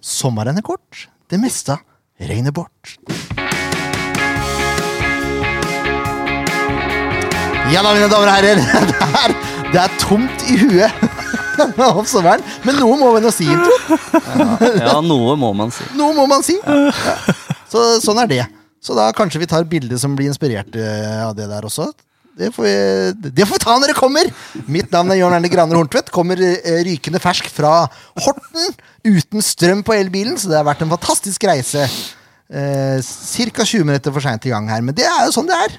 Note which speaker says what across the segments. Speaker 1: Sommeren er kort, det meste regner bort. Ja da, mine damer og herrer. Det er, det er tomt i huet om sommeren. Men noe må man jo si.
Speaker 2: Ja, noe må man si.
Speaker 1: Noe må man si. Ja. Så, sånn er det. Så da kanskje vi tar bilde som blir inspirert eh, av det der også. Det får, vi, det får vi ta når det kommer! Mitt navn er Jørn Erne Graner Horntvedt. Kommer eh, rykende fersk fra Horten. Uten strøm på elbilen, så det har vært en fantastisk reise. Eh, Ca. 20 minutter for seint i gang her, men det er jo sånn det er.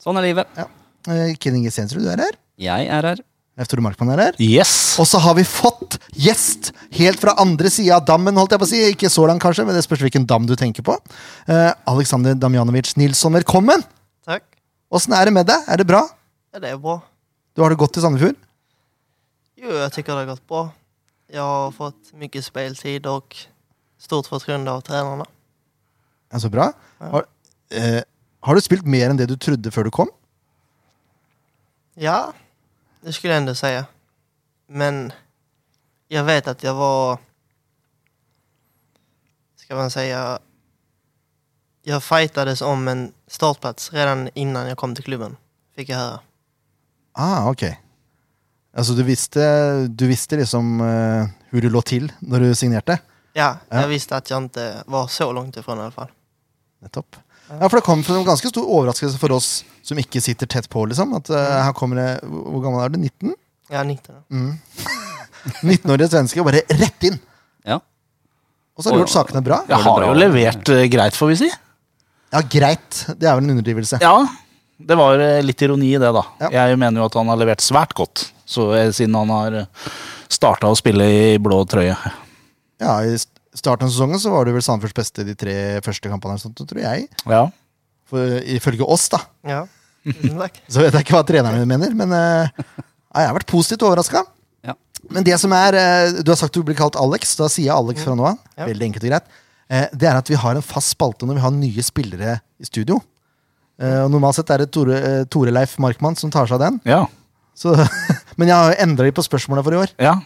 Speaker 2: Sånn er livet.
Speaker 1: Ja. Eh, Ken Inge Stensrud, du er her.
Speaker 2: Jeg er her.
Speaker 1: Leif Tore Markmann er her.
Speaker 3: Yes!
Speaker 1: Og så har vi fått gjest helt fra andre sida av dammen, holdt jeg på å si. Ikke så langt, kanskje, men det spørs hvilken dam du tenker på. Eh, Aleksander Damjanovic Nilsson, velkommen!
Speaker 4: Takk.
Speaker 1: Åssen er det med deg? Er det bra?
Speaker 4: Ja, det er bra.
Speaker 1: Du har det godt i Sandefjord?
Speaker 4: Jo, jag tycker det har gått bra. Jag har fått mycket speltid och stort förtroende av tränarna.
Speaker 1: Ja, så bra. Har, eh, har du spilt mer enn det du trodde før du kom?
Speaker 4: Ja, det skulle jag ändå säga. Men jag vet att jag var... Ska man säga... Jag fightades om en startplats redan innan jag kom till klubben. Fick jag höra.
Speaker 1: Ah, ok. Altså, du visste, du visste liksom eh, hvor du lå til når du signerte?
Speaker 4: Ja,
Speaker 1: Ja.
Speaker 4: jag visste att jag inte var så långt ifrån i alla fall.
Speaker 1: Nettopp. Ja, for det kom som en ganske stor overraskelse for oss som ikke sitter tett på, liksom. At eh, her kommer det Hvor hvor gammel er du? 19?
Speaker 4: Ja, 19 år.
Speaker 1: 19-årige svenske og bare rett inn.
Speaker 2: Ja.
Speaker 1: Og så har du gjort sakene bra.
Speaker 3: Jeg har jo levert eh, greit, får vi si.
Speaker 1: Ja, greit. Det er vel en underdrivelse.
Speaker 3: Ja, det var eh, litt ironi i det, da.
Speaker 1: Ja.
Speaker 3: Jeg mener jo at han har levert svært godt, så, eh, siden han har starta å spille i blå trøye.
Speaker 1: Ja, I st- starten av sesongen så var du vel Sandefjords beste de tre første kampene, eller sånt, tror jeg.
Speaker 3: Ja.
Speaker 1: For, ifølge oss, da.
Speaker 4: Ja, tusen tack.
Speaker 1: Så vet jeg ikke hva treneren min mener, men eh, ja, jeg har vært positivt overraska.
Speaker 2: Ja.
Speaker 1: Men det som er eh, Du har sagt du blir kalt Alex. Da sier jeg Alex fra nå av.
Speaker 4: Ja.
Speaker 1: Veldig enkelt og greit. Eh, det er at vi har en fast spalte når vi har nye spillere i studio. Eh, og Normalt sett er det Tore, eh, Tore Leif Markmann som tar seg av den.
Speaker 3: Ja.
Speaker 1: Så, men jeg har jo endra litt på spørsmåla for i år.
Speaker 3: ja.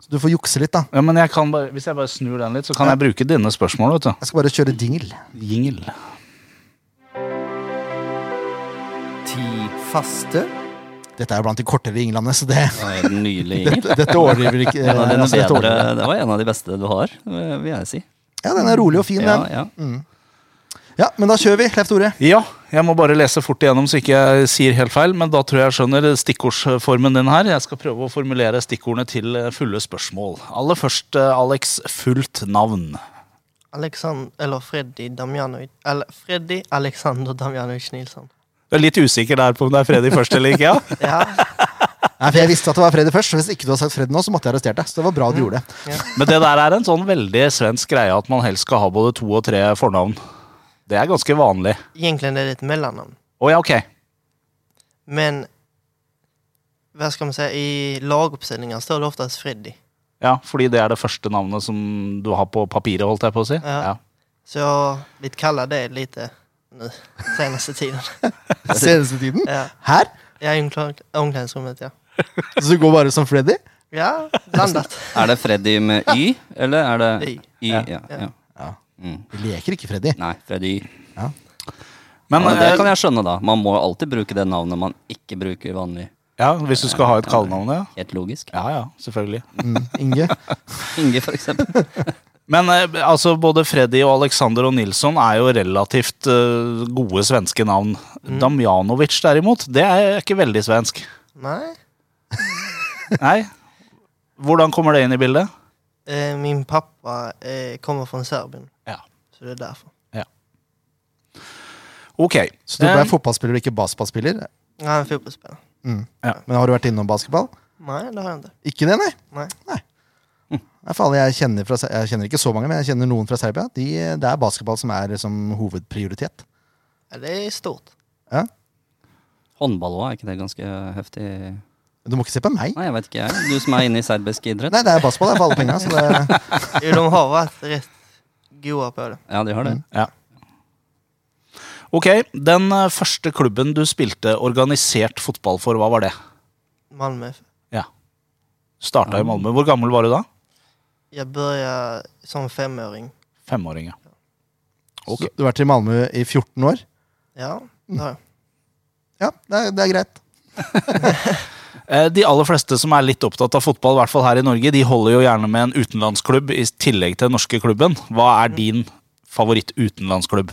Speaker 1: Så du får jukse litt, da.
Speaker 3: Ja, men jeg kan bare, Hvis jeg bare snur den litt, så kan jeg bruke dine spørsmål. vet du.
Speaker 1: Jeg skal bare kjøre jingle.
Speaker 3: Jingle.
Speaker 5: Ti faste.
Speaker 1: Dette er jo blant de kortere jinglene, så det,
Speaker 2: Det var helt Nydelig, Inger.
Speaker 1: dette, dette overdriver ikke.
Speaker 2: En av
Speaker 1: eh,
Speaker 2: dine
Speaker 1: altså, dette
Speaker 2: bedre,
Speaker 1: overdriver.
Speaker 2: det var en av de beste du har, vil jeg si.
Speaker 1: Ja, den er rolig og fin,
Speaker 2: Ja,
Speaker 1: den.
Speaker 2: ja.
Speaker 1: Ja, men da kjører vi. Leif Tore.
Speaker 3: Ja, jeg må bare lese fort igjennom så ikke jeg sier helt feil, men da tror jeg jeg skjønner eh, stikkordsformen din her. Jeg skal prøve å formulere stikkordene til eh, fulle spørsmål. Aller først, eh, Alex, fullt navn.
Speaker 4: Alexander, eller Freddy Damjanovic, eller Freddy Alexander Damjanovic Nilsson.
Speaker 3: Du er litt usikker der på om det er Freddy først eller ikke? ja?
Speaker 4: Ja,
Speaker 1: Nei, for Jeg visste at det var Freddy først, så hvis ikke du hadde sagt Freddy nå, så måtte jeg arrestert deg. Så det var bra du gjorde det.
Speaker 3: Men det der er en sånn veldig svensk greie at man helst skal ha både to og tre fornavn. Det er ganske vanlig.
Speaker 4: egentligen är det ett mellannamn.
Speaker 3: Å ja, ok.
Speaker 4: Men vad ska man säga, i laguppställningar står det oftast Freddy.
Speaker 3: Ja, fordi det er det første navnet som du har på papiret, holdt jeg på å si.
Speaker 4: Ja. Så jag har blivit kallad det lite nu, senaste tiden.
Speaker 1: Seneste tiden.
Speaker 4: Ja,
Speaker 1: Her.
Speaker 4: jag är i omkläd- omklädningsrummet, ja.
Speaker 1: Så du går bare som Freddy?
Speaker 4: Ja, blandat.
Speaker 2: Er det Freddy med Y, eller er det
Speaker 4: Y.
Speaker 2: Y? Ja, ja.
Speaker 1: Vi leker ikke Freddy.
Speaker 2: Nei, Freddy Y.
Speaker 3: Men
Speaker 2: Ja, det
Speaker 3: eh,
Speaker 2: kan jeg skjønne, da. Man må alltid bruke det navnet man ikke bruker vanlig.
Speaker 3: ja, hvis du skal ha et kallenavn, ja.
Speaker 2: Helt logisk.
Speaker 3: Ja ja, selvfølgelig.
Speaker 1: Mm, Inge.
Speaker 2: Inge, for eksempel.
Speaker 3: Men eh, altså, både Freddy og Alexander og Nilsson er jo relativt eh, gode svenske navn. Damjanovic, derimot, det er ikke veldig svensk.
Speaker 4: Nej.
Speaker 3: Nei. Hvordan kommer det inn i bildet?
Speaker 4: Eh, Min pappa eh, kommer från Serbien,
Speaker 3: Ja.
Speaker 4: så det är därför.
Speaker 3: Ok.
Speaker 1: Så du ble
Speaker 3: Eh,
Speaker 1: fotballspiller og ikke basketballspiller?
Speaker 4: Jag är en fotbollsspelare.
Speaker 1: Men har du vært innom basketball?
Speaker 4: Nej, det har jag inte.
Speaker 1: Ikke det, nei.
Speaker 4: Nej.
Speaker 1: Nei, for alle jeg, kjenner fra, Se- jeg kjenner ikke så mange, men jeg kjenner noen fra Serbia. De, det er basketball som er liksom, hovedprioritet.
Speaker 4: Ja, det är stort.
Speaker 2: Håndball òg, er ikke det ganske heftig?
Speaker 1: Du må ikke se på meg.
Speaker 2: Nei, jeg vet ikke, jeg. Du som er inne i serbisk idrett.
Speaker 1: Nei, det er basketball det er for alle penga. Så det,
Speaker 4: Jo, de har varit rätt goa på det.
Speaker 2: Ja, de har det.
Speaker 3: ja. Ok, Den eh, første klubben du spilte organisert fotball for, hva var det?
Speaker 4: Malmö.
Speaker 3: Ja. Starta i Malmö. Hvor gammel var du da?
Speaker 4: Jag började som femåring.
Speaker 3: Femåring, ja. Ok.
Speaker 1: Så Du har vært i Malmö i 14 år.
Speaker 4: Ja, det har jag.
Speaker 1: Ja, det er, det er greit.
Speaker 3: Eh, De aller fleste som er litt opptatt av fotball, i hvert fall her i Norge, de holder jo gjerne med en utenlandsklubb i tillegg til den norske klubben. Hva er din favoritt-utenlandsklubb?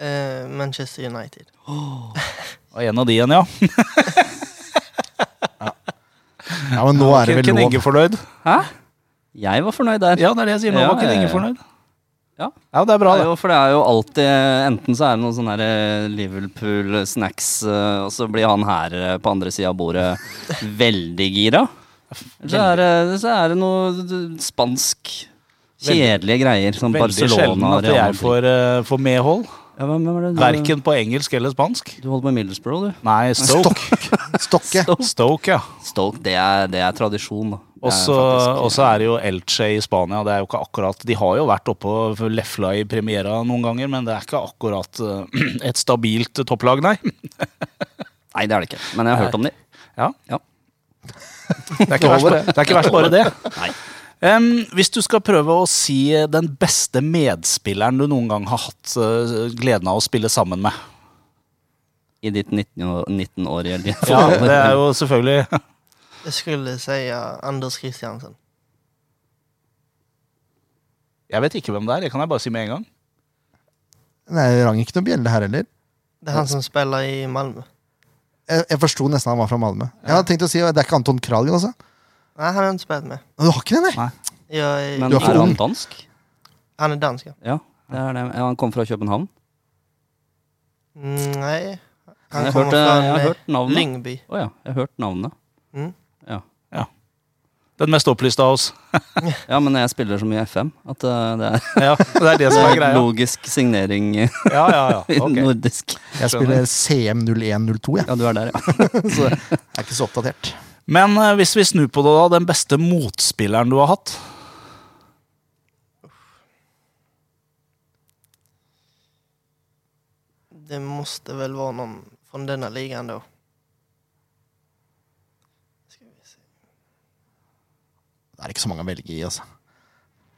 Speaker 4: Eh, Manchester United.
Speaker 3: Og en av de igjen, ja.
Speaker 1: Ja, men nå er det vel
Speaker 3: Ken
Speaker 1: lov.
Speaker 3: Inge fornøyd?
Speaker 2: Hæ? Jeg var fornøyd der.
Speaker 3: Ja, det er det jeg sier. Nå
Speaker 2: Ja,
Speaker 3: var Ken
Speaker 2: ja,
Speaker 3: Inge
Speaker 2: ja.
Speaker 3: fornøyd.
Speaker 2: Ja.
Speaker 3: ja, det er bra,
Speaker 2: Det er
Speaker 3: det.
Speaker 2: jo, for det er jo alltid Enten så er det noen sånne her, eh, Liverpool-snacks, eh, og så blir han her eh, på andre sida av bordet veldig gira. Eller Så er, det- så er det noe d- spansk Kjedelige greier som
Speaker 3: Veldig
Speaker 2: Barcelona
Speaker 3: sjelden at
Speaker 2: Real
Speaker 3: jeg
Speaker 2: Madrid.
Speaker 3: får, eh, får medhold.
Speaker 2: ja, hvem, hvem er det? du-
Speaker 3: Verken på engelsk eller spansk.
Speaker 2: Du holder på med Middlesbrough, du.
Speaker 3: Nei, Stoke.
Speaker 1: Stokke.
Speaker 3: Stoke, ja.
Speaker 2: Stoke, det er, det er tradisjon. da. Det er
Speaker 3: Og så
Speaker 2: faktisk-
Speaker 3: og så er det jo Elche i Spania. Det er jo ikke akkurat, De har jo vært oppe og lefla i premiera noen ganger, men det er ikke akkurat eh, et stabilt topplag, nei.
Speaker 2: Nei, det er det ikke. Men jeg har hørt om de.
Speaker 3: Ja.
Speaker 2: Ja.
Speaker 3: Det er ikke
Speaker 1: Lover
Speaker 3: verst, bare-
Speaker 1: det.
Speaker 3: det er ikke verst bare det.
Speaker 2: Nei.
Speaker 3: Em, hvis du skal prøve å si den beste medspilleren du noen gang har hatt eh, gleden av å spille sammen med
Speaker 2: I ditt 19-årige liv.
Speaker 3: ja, Det er jo selvfølgelig
Speaker 4: Jag skulle säga Anders Christiansen.
Speaker 3: Jeg vet ikke hvem det er, det kan jeg bare si med en gang.
Speaker 1: Nei, det rang ikke noen bjelle her heller.
Speaker 4: Det är han som spelar i Malmö.
Speaker 1: Jeg, jeg forsto nesten han var fra Malmö. Jeg hadde tenkt å si, Det er ikke Anton Kralj, altså.
Speaker 4: Nej, han har jeg inte spelat med.
Speaker 1: Du har ikke det, nei?
Speaker 4: Jag är,
Speaker 2: Men
Speaker 1: Du er for
Speaker 2: er han
Speaker 1: ung.
Speaker 2: dansk?
Speaker 4: han är dansk. ja.
Speaker 2: Ja, det er det. Ja, han kom fra København.
Speaker 4: Mm, nej, han
Speaker 2: Jeg
Speaker 4: kommer
Speaker 2: hørte,
Speaker 4: från
Speaker 2: jeg har
Speaker 4: eh,
Speaker 2: hørt navnet.
Speaker 4: Lyngby.
Speaker 2: Å ja, jeg har hørt navnet.
Speaker 4: Mm.
Speaker 2: Ja.
Speaker 3: Den mest opplyste av oss.
Speaker 2: ja, men jeg spiller så mye FM at eh, det er,
Speaker 3: Ja, det er det som er greia.
Speaker 2: logisk signering eh,
Speaker 3: Ja, ja, ja. ok.
Speaker 2: nordisk.
Speaker 1: Jeg spiller CM0102, jeg.
Speaker 2: Ja, du er der, ja.
Speaker 1: Så jeg er ikke så oppdatert.
Speaker 3: Men eh, hvis vi snur på det, da. Den beste motspilleren du har hatt?
Speaker 4: Det måste väl vara någon från denna ligan då. Ska vi se.
Speaker 1: Det er ikke så mange å velge i, altså.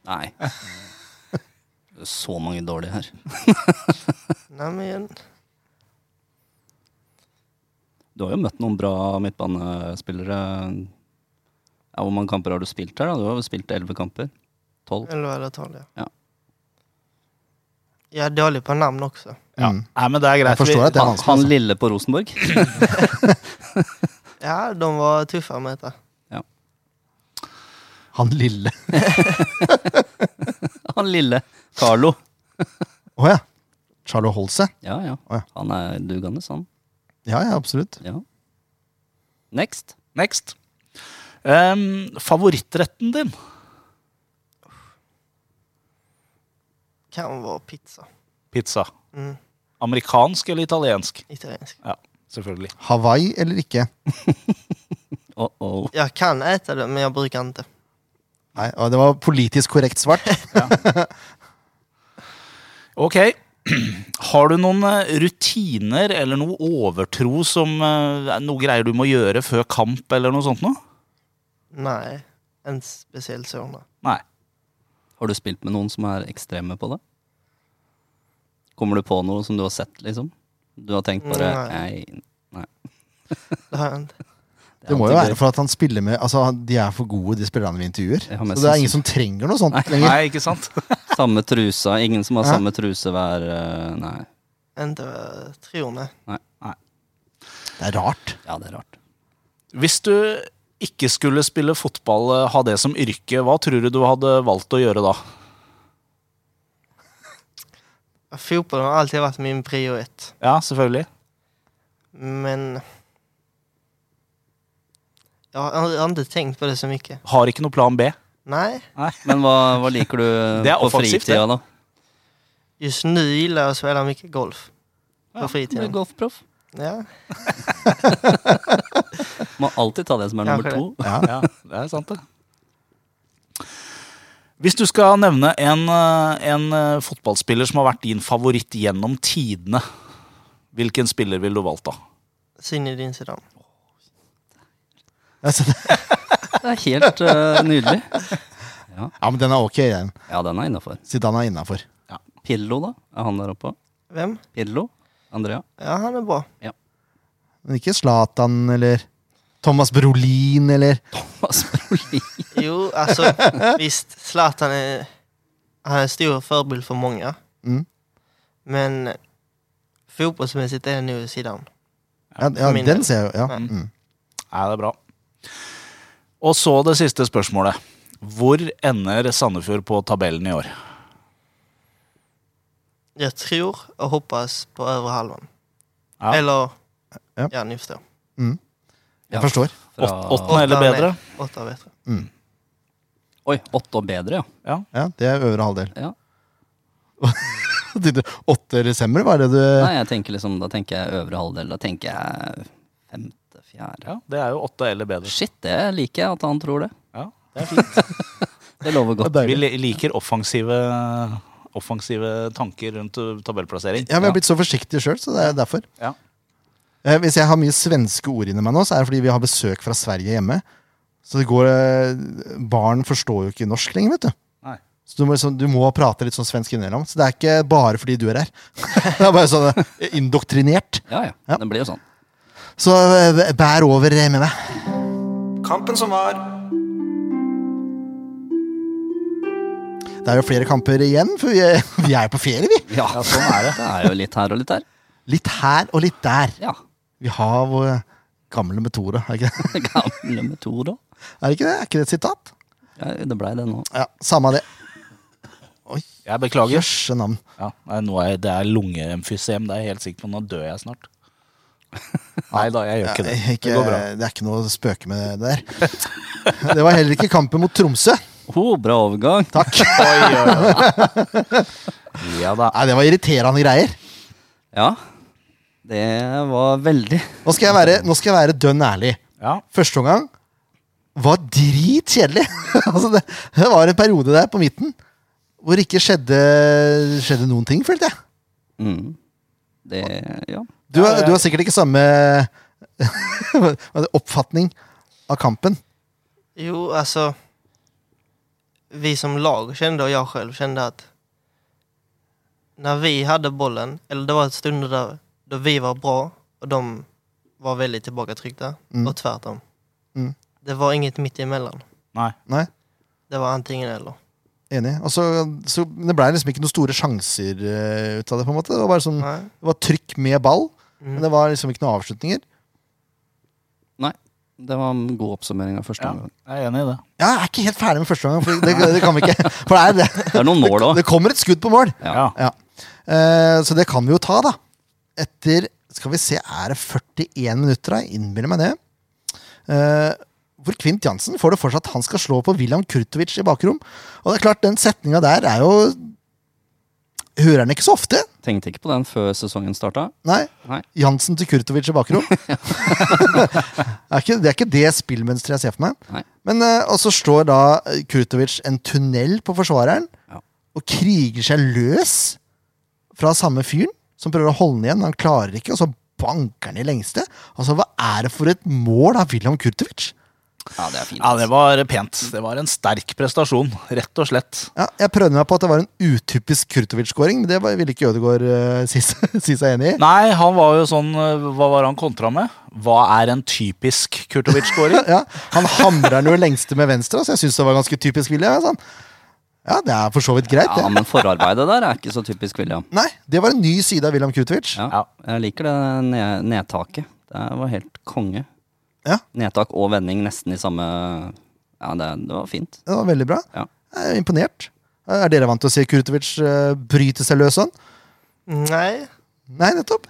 Speaker 2: Nei. Det er Så mange dårlige her.
Speaker 4: Nej, men,
Speaker 2: Du har jo møtt noen bra midtbanespillere. Ja, hvor mange kamper har du spilt her? da? Du har jo spilt elleve kamper. Tolv.
Speaker 4: 11 eller 12 ja.
Speaker 2: Ja.
Speaker 4: Jag är dålig på namn också.
Speaker 3: Ja.
Speaker 1: Mm.
Speaker 3: Nei, men det er greit.
Speaker 1: Jeg forstår at det er
Speaker 2: Han,
Speaker 1: vanskelig.
Speaker 2: han
Speaker 1: Altså.
Speaker 2: lille på Rosenborg.
Speaker 4: Ja, de var tuffa med detta.
Speaker 1: Han lille.
Speaker 2: Han lille Carlo.
Speaker 1: Å ja. Charlo Holse.
Speaker 2: Ja, ja.
Speaker 1: Å, ja.
Speaker 2: Han er dugende, han.
Speaker 1: Ja, ja, absolutt.
Speaker 2: Ja. Next.
Speaker 3: Next. Em, favorittretten din?
Speaker 4: Kan vara pizza.
Speaker 3: Pizza.
Speaker 4: Mm,
Speaker 3: Amerikansk eller italiensk?
Speaker 4: italiensk.
Speaker 3: Ja, selvfølgelig.
Speaker 1: Hawaii eller ikke?
Speaker 2: Oh -oh.
Speaker 4: Jag kan äta det, men jag brukar inte.
Speaker 1: Nei, å, Det var politisk korrekt svart.
Speaker 3: Ok. Har du noen eh, rutiner eller noe overtro som eh, er Noe greier du må gjøre før kamp eller noe sånt noe?
Speaker 4: Nej, inte speciellt så. nej.
Speaker 3: Nei.
Speaker 2: Har du spilt med noen som er ekstreme på det? Kommer du på noe som du har sett, liksom? Du har tenkt bare Nei.
Speaker 4: Nei. Det har jag inte.
Speaker 2: er
Speaker 1: Det må jo
Speaker 2: alltid
Speaker 1: være for at han spiller med Altså, De er for gode, de spillerne vi intervjuer.
Speaker 2: Ja, men
Speaker 1: Så det er
Speaker 2: synes-
Speaker 1: ingen som trenger noe sånt lenger.
Speaker 3: Nei, ikke sant?
Speaker 2: gøy. Samme trusa. Ingen som har
Speaker 1: Hæ?
Speaker 2: samme truse hver eh, Nei.
Speaker 4: Inte vad jag tror, nej.
Speaker 1: Det er rart.
Speaker 2: Ja, det er rart.
Speaker 3: Hvis du ikke skulle spille fotball, eh, ha det som yrke, hva tror du du hadde valgt å gjøre da?
Speaker 4: Fotboll har alltid varit min prio ett.
Speaker 3: Ja, selvfølgelig.
Speaker 4: Men... Jag har, jag har inte tänkt på det så mycket.
Speaker 3: Har ikke noe plan B.
Speaker 4: Nej,
Speaker 2: Men hva, hva liker du
Speaker 3: Det er
Speaker 2: på
Speaker 3: offensivt,
Speaker 2: fritida, da?
Speaker 4: just nu gillar jag att spela mycket golf. På
Speaker 2: Blir
Speaker 4: fritiden.
Speaker 2: Golfproff.
Speaker 4: Ja,
Speaker 2: Må alltid ta det som er nummer
Speaker 4: Kanskje
Speaker 2: to.
Speaker 1: Ja.
Speaker 3: Ja, det er sant det. Hvis du skal nevne en, eh, en eh, fotballspiller som har vært din favoritt gjennom tidene, hvilken spiller ville du valgt da?
Speaker 4: Zinedine Zidane.
Speaker 1: Altså,
Speaker 2: Det er helt eh, nydelig. Ja.
Speaker 1: Ja, men den er ok, den.
Speaker 2: Ja, den er innafor.
Speaker 1: Zidane er innafor.
Speaker 2: Pirlo, da? Er han der oppe?
Speaker 4: Hvem?
Speaker 2: Pirlo? Andrea?
Speaker 4: Ja, han er bra.
Speaker 1: Men ikke Zlatan eller Thomas Brolin eller
Speaker 2: Thomas Brolin.
Speaker 4: Jo, altså visst. Zlatan er Han er stor forbilde for mange.
Speaker 1: Mm.
Speaker 4: Men fotballmessig er det nå Zidane.
Speaker 1: Ja, ja
Speaker 4: min
Speaker 1: den
Speaker 4: del.
Speaker 1: ser jeg jo. Ja.
Speaker 4: Nei.
Speaker 1: Mm.
Speaker 3: Nei, det er bra. Og så det siste spørsmålet. Hvor ender Sandefjord på tabellen i år?
Speaker 4: Jeg tror og håper på øvre halvan.
Speaker 3: Ja.
Speaker 4: Eller
Speaker 1: Ja.
Speaker 4: Ja, ja ni forstår.
Speaker 1: Jeg forstår.
Speaker 2: Fra-
Speaker 3: Åt- åttende eller
Speaker 4: Åtte er
Speaker 3: bedre?
Speaker 4: ned. Åtte er bedre.
Speaker 2: Oi, åtte og bedre, ja.
Speaker 1: Ja, det er øvre halvdel.
Speaker 2: ja.
Speaker 1: Tenkte du 8. desember, var det du
Speaker 2: Nei, jeg tenker liksom, da tenker jeg øvre halvdel. Da tenker jeg femte, fjerde.
Speaker 3: Ja, det er jo åtte eller bedre.
Speaker 2: Shit, det liker jeg at han tror det.
Speaker 3: Ja, det er fint.
Speaker 2: Det lover godt.
Speaker 3: Vi li- liker offensive, offensive tanker rundt uh, tabellplassering.
Speaker 1: Ja, men jeg har blitt så forsiktig sjøl, så det er derfor.
Speaker 3: Ja.
Speaker 1: Eh, Hvis jeg har mye svenske ord inni meg nå, så er det fordi vi har besøk fra Sverige hjemme. Så det går eh, Barn forstår jo ikke norsk lenger, vet du.
Speaker 3: Nei.
Speaker 1: Så du må, liksom, du må prate litt sånn svensk innimellom. Så det er ikke bare fordi du er her. det er bare sånn eh, indoktrinert.
Speaker 2: Ja, ja.
Speaker 1: Ja.
Speaker 2: Det blir jo sånn.
Speaker 1: Så eh, bær over eh, med deg.
Speaker 5: Kampen som var.
Speaker 1: Det er jo flere kamper igjen, for vi er, vi er jo på ferie, vi.
Speaker 2: Ja, sånn er det. Det er jo litt her og litt der.
Speaker 1: Litt her og litt der.
Speaker 2: Ja.
Speaker 1: Vi har våre gamle metoder, er ikke det?
Speaker 2: Gamle metoder.
Speaker 1: Er det ikke det? Er ikke det et sitat?
Speaker 2: Ja, det blei det nå.
Speaker 1: Ja, samme det.
Speaker 3: Jeg beklager.
Speaker 1: Jøsse navn.
Speaker 3: Ja, nei, nå er, det er lungeemfysem, det er jeg helt sikker på. Nå dør jeg snart. Nei da, jeg gjør ikke det.
Speaker 1: Ikke,
Speaker 3: Det går bra.
Speaker 1: det er ikke noe å spøke med det der. Det var heller ikke kampen mot Tromsø.
Speaker 2: Oh, bra overgang.
Speaker 1: Takk.
Speaker 3: Ja da.
Speaker 1: Nei, det var irriterende greier.
Speaker 2: Ja. Det var veldig
Speaker 1: Nå skal jeg være, nå skal jeg være dønn ærlig.
Speaker 3: Ja,
Speaker 1: Første omgang var dritkjedelig. altså det, det var en periode der på midten hvor det ikke skjedde, skjedde noen ting, følte jeg.
Speaker 2: mm. Det Ja.
Speaker 1: Du, har- du har sikkert ikke samme oppfatning av kampen.
Speaker 4: Jo, alltså. Vi som lag kände och jag själv kände att när vi hade bollen, eller det var ett stunder där då vi var bra och de var väldigt tillbakatryckta
Speaker 1: Mm.
Speaker 4: och tvärtom.
Speaker 1: Mm.
Speaker 4: Det var inget mitt emellan.
Speaker 3: nei.
Speaker 1: Nei,
Speaker 4: Det var antingen eller.
Speaker 1: enig. Og så- så det ble liksom ikke noen store sjanser eh, ut av det. på en måte. Det var bare sånn
Speaker 4: Nej.
Speaker 1: Det var trykk med ball,
Speaker 4: Mm.
Speaker 1: men det var liksom ikke noen avslutninger.
Speaker 2: Det var en god oppsummering av første
Speaker 3: Ja,
Speaker 2: omgang.
Speaker 3: jeg er enig i det.
Speaker 1: Ja, jeg er ikke helt ferdig med første gang, for det, det kan vi ikke. For det er det.
Speaker 2: Det er noen mål òg.
Speaker 1: Det kommer et skudd på mål,
Speaker 3: Ja.
Speaker 1: Eh, så det kan vi jo ta, da. Etter skal vi se, er det 41 minutter, da? Jeg innbiller meg det. Eh, hvor Kvint Jansen får det for seg at han skal slå på William Kurtovic i bakrom. Og det er klart, den setninga der er jo Hører den ikke så ofte.
Speaker 2: Tenkte ikke på den før sesongen starta.
Speaker 1: Nei.
Speaker 2: Nei.
Speaker 1: Jansen til Kurtovic i bakrom. det, er ikke, det er ikke det spillmønsteret jeg ser for meg.
Speaker 2: Nei.
Speaker 1: Men eh, Og så slår da eh, Kurtovic en tunnel på forsvareren
Speaker 2: Ja.
Speaker 1: og kriger seg løs fra samme fyren, som prøver å holde den igjen. Han klarer ikke, og så banker han i lengste. Altså, Hva er det for et mål av William Kurtovic?
Speaker 2: Ja, det er fint.
Speaker 3: Ja, det var pent. Det var en sterk prestasjon, rett og slett.
Speaker 1: Ja, jeg prøvde meg på at det var en utypisk Kurtovic-skåring, men det var, ville ikke Ødegaard eh, si seg si seg enig i.
Speaker 3: Nei, han var jo sånn øh, Hva var han kontra med? Hva er en typisk Kurtovic-skåring?
Speaker 1: ja. Han hamrer den jo lengste med venstre, så jeg syns det var ganske typisk William. Sånn. Ja, det er for så vidt greit,
Speaker 2: Ja,
Speaker 1: det.
Speaker 2: men forarbeidet der er ikke så typisk William.
Speaker 1: Nei, det var en ny side av William Kutovic. Ja.
Speaker 2: Ja, jeg liker det ned nedtaket. Det var helt konge.
Speaker 1: Ja.
Speaker 2: Nedtak og vending nesten i samme Ja, det, det var fint.
Speaker 1: Det var veldig bra.
Speaker 2: Ja.
Speaker 1: Jeg er imponert. Er dere vant til å se Kutovic eh, bryte seg løs sånn?
Speaker 4: Nej,
Speaker 1: Nei, nettopp.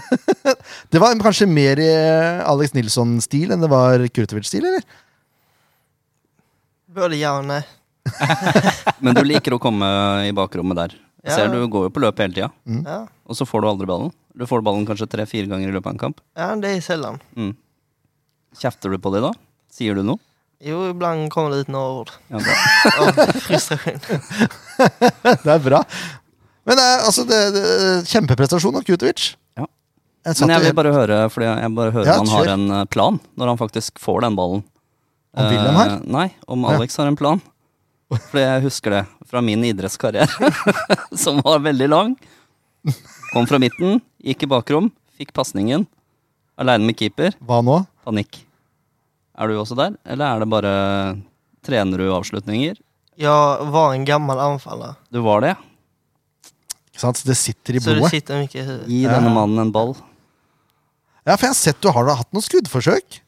Speaker 1: det var kanskje mer i eh, Alex Nilsson-stil enn det var Kutovic-stil, eller?
Speaker 4: både ja och nej.
Speaker 2: Men du liker å komme i bakrommet der. Jeg
Speaker 4: Ja.
Speaker 2: ser du går jo på løp hele tida,
Speaker 4: Ja.
Speaker 2: og så får du aldri ballen. Du får ballen kanskje tre-fire ganger i løpet av en kamp.
Speaker 4: ja, det är sällan.
Speaker 2: Mm. Kjefter du på det da? Sier du noe?
Speaker 4: Jo, ibland kommer det ut några ord
Speaker 2: Ja, bra.
Speaker 4: av frustration.
Speaker 1: Det er bra. Men eh, altså, det, det, kjempeprestasjon av Kutovic.
Speaker 2: Ja.
Speaker 1: Jeg satt
Speaker 2: Men jeg
Speaker 1: jo-
Speaker 2: vil bare høre, fordi jeg bare hører
Speaker 1: Ja,
Speaker 2: han
Speaker 1: kjør.
Speaker 2: har en eh, plan når han faktisk får den ballen.
Speaker 1: Om
Speaker 2: Eh,
Speaker 1: William har?
Speaker 2: Nei, om Alex har en plan. Fordi jeg husker det fra min idrettskarriere, som var veldig lang. Kom fra midten, gikk i bakrom, fikk pasningen. Aleine med keeper.
Speaker 1: Hva nå?
Speaker 2: Panikk. Er du også der, eller er det bare eh, Trener du avslutninger?
Speaker 4: Jag var en gammal anfallare.
Speaker 2: Du var det, ja.
Speaker 1: Ikke sant? Så det sitter i
Speaker 4: Så det
Speaker 1: blodet.
Speaker 4: sitter mycket i huvudet.
Speaker 2: Gi denne mannen en ball.
Speaker 1: Ja, for jeg har sett du har da hatt noen skuddforsøk.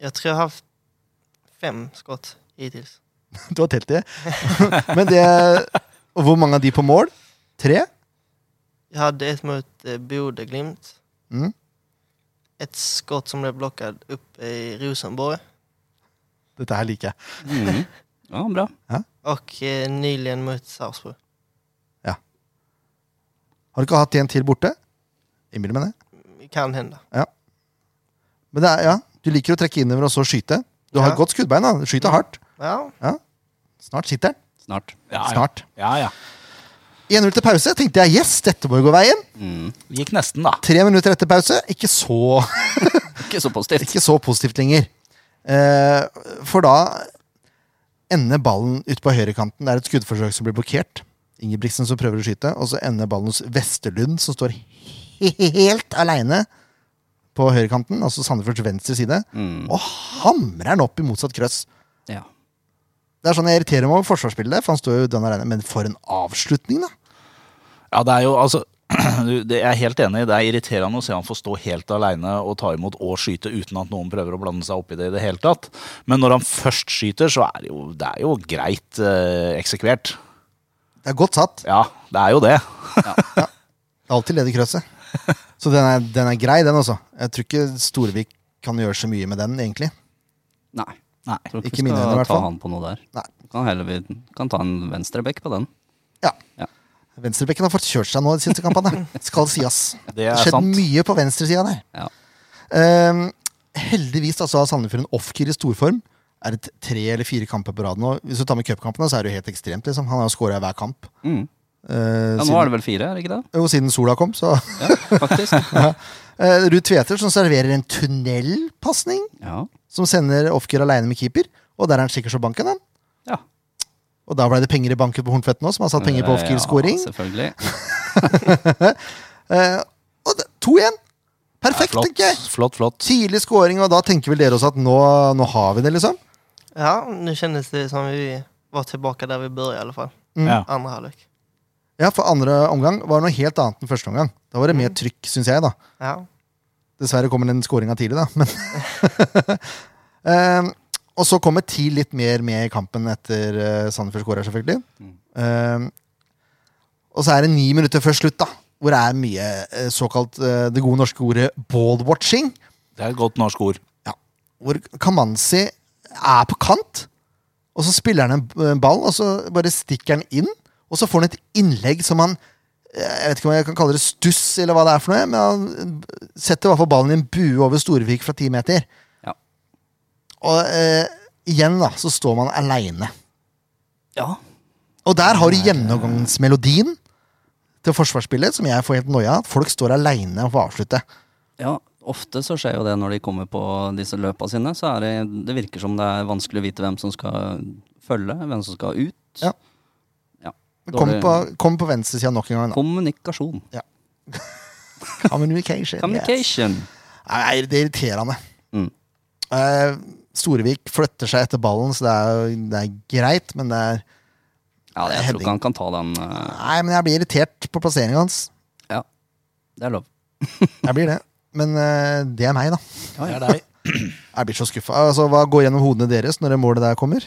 Speaker 4: Jag tror jag har haft fem skott hittills.
Speaker 1: Du har telt det. Men det Og hvor mange av de på mål? Tre?
Speaker 4: Jag hade ett mot eh, Bodeglimt.
Speaker 1: Mm.
Speaker 4: Ett skott som blev blockad upp i Rosenborg.
Speaker 1: Dette her liker jeg.
Speaker 2: Mhm. Ja, bra.
Speaker 4: Och eh, nyligen mot Sarpsborg.
Speaker 1: Har du ikke hatt en til borte? Innbiller meg det.
Speaker 4: Kan hända.
Speaker 1: Men det er, ja, du liker å trekke innover og så skyte. Du har
Speaker 4: Ja.
Speaker 1: et godt skuddbein. da. Du
Speaker 3: Mm.
Speaker 1: Skyter hardt.
Speaker 4: Ja,
Speaker 1: Snart sitter den.
Speaker 2: Snart.
Speaker 3: Ja, ja.
Speaker 1: Snart.
Speaker 3: ja, ja.
Speaker 1: 1-0 til pause. Tenkte jeg yes, dette må jo gå veien.
Speaker 2: Mhm.
Speaker 3: Gikk nesten, da.
Speaker 1: Tre minutter etter pause. Ikke så
Speaker 2: Ikke så positivt.
Speaker 1: ikke så positivt lenger. Eh, for da ender ballen ute på høyrekanten. Det er et skuddforsøk som blir blokkert. Ingebrigtsen som prøver å skyte, og så ender ballen hos Vesterlund, som står he- helt aleine på høyrekanten, altså Sandefjords venstre side,
Speaker 2: Mhm.
Speaker 1: og hamrer den opp i motsatt krøss.
Speaker 2: Ja.
Speaker 1: Det er sånn jeg irriterer meg over forsvarsspillet, for han står jo dønn aleine. Men for en avslutning, da!
Speaker 3: Ja, det er jo altså du, det, Jeg er helt enig. Det er irriterende å se han få stå helt aleine og ta imot og skyte uten at noen prøver å blande seg opp i det i det hele tatt. Men når han først skyter, så er det jo, det er jo greit eh, eksekvert.
Speaker 1: Det er godt satt.
Speaker 3: Ja, det er jo det.
Speaker 1: Det er alltid ledig krøsset. Så den er, den er grei, den også. Jeg tror ikke Storevik kan gjøre så mye med den, egentlig.
Speaker 2: Nei.
Speaker 3: Nei.
Speaker 2: Tror
Speaker 1: Ikke
Speaker 2: ikke vi
Speaker 1: mine hender, i
Speaker 2: skal
Speaker 1: hvert
Speaker 2: ta
Speaker 1: fall.
Speaker 2: han på noe der.
Speaker 1: Nei.
Speaker 2: Kan, heller, vi kan ta en venstrebekk på den.
Speaker 1: Ja.
Speaker 2: Ja.
Speaker 1: Venstrebekken har fått kjørt seg nå de siste kampene. Skal sies.
Speaker 3: Det
Speaker 1: Det
Speaker 3: er
Speaker 1: har skjedd
Speaker 3: sant.
Speaker 1: mye på venstresida der.
Speaker 2: Ja.
Speaker 1: Ehm, heldigvis da, så har Sandefjord en off-kir i storform. Er det tre eller fire kamper på rad nå? Hvis du tar med cupkampene, så er det jo helt ekstremt. liksom. Han har jo skåra i hver kamp.
Speaker 2: Mhm.
Speaker 1: Eh,
Speaker 2: Ja, nå er
Speaker 1: siden,
Speaker 2: det vel fire, er det ikke det?
Speaker 1: jo, siden sola kom, så
Speaker 2: Ja, faktisk.
Speaker 1: Eh, Ruud Tveter som serverer en tunnelpasning,
Speaker 2: Ja.
Speaker 1: som sender off-kir aleine med keeper. Og der er han sikkert så banken, han.
Speaker 2: ja.
Speaker 1: Og da ble det penger i banken på Hornfett nå, som har satt penger på
Speaker 2: Eh, Ja, altså.
Speaker 1: off-kir-scoring.
Speaker 2: selvfølgelig.
Speaker 1: og det- 2-1! Perfekt,
Speaker 3: flott,
Speaker 1: tenker jeg.
Speaker 3: flott, flott.
Speaker 1: Tidlig scoring, og da tenker vel dere også at nå, nå har vi det, liksom?
Speaker 4: ja nu kändes det som vi var tillbaka där vi började i alla fall.
Speaker 1: Mm.
Speaker 3: Ja.
Speaker 4: Andra halvlek.
Speaker 1: Ja, for andre omgang var noe helt annet enn første omgang. Da var det mer trykk, syns jeg, da.
Speaker 4: Ja.
Speaker 1: Dessverre kommer den scoringa tidlig, da, men Ehm, Og så kommer TIL litt mer med i kampen etter uh, Sandefjord skårer, selvfølgelig. Ehm, og så er det ni minutter før slutt, da, hvor det er mye eh, såkalt eh, det gode norske ordet ball-watching.
Speaker 3: Det er et godt norsk ord.
Speaker 1: ja, hvor Kamanzi er på kant, og så spiller han en b- en ball, og så bare stikker han inn, og så får han et innlegg som han eh, jeg vet ikke om jeg kan kalle det stuss, eller hva det er for noe, men han setter i hvert fall ballen i en bue over Storevik fra ti meter.
Speaker 2: Ja.
Speaker 1: Og eh, igjen, da, så står man aleine.
Speaker 2: ja.
Speaker 1: Og der har du gjennomgangsmelodien til forsvarsspillet, som jeg får helt noia av. at Folk står aleine og får avslutte.
Speaker 2: Ja, ofte så skjer jo det når de kommer på disse løpa sine. Så er det, det virker som det er vanskelig å vite hvem som skal følge, hvem som skal ut.
Speaker 1: Ja.
Speaker 2: Ja,
Speaker 1: Kom
Speaker 2: dårlig
Speaker 1: på, kom på venstresida nok en gang. da.
Speaker 2: Kommunikasjon.
Speaker 1: Communication. yes.
Speaker 2: Communication.
Speaker 1: Nei, det er irriterende.
Speaker 2: Mm.
Speaker 1: Eh, Storevik flytter seg etter ballen, så det er, jo- det er greit, men det er
Speaker 2: Ja, jeg tror
Speaker 1: Heading.
Speaker 2: ikke han kan ta den. eh,
Speaker 1: Nei, men jeg blir irritert på plasseringen hans.
Speaker 2: Ja, det er lov.
Speaker 1: Jeg blir det. Men eh, det er meg, da.
Speaker 3: Det er deg.
Speaker 1: Jeg blir så skuffa. Altså, hva går gjennom hodene deres når det målet der kommer?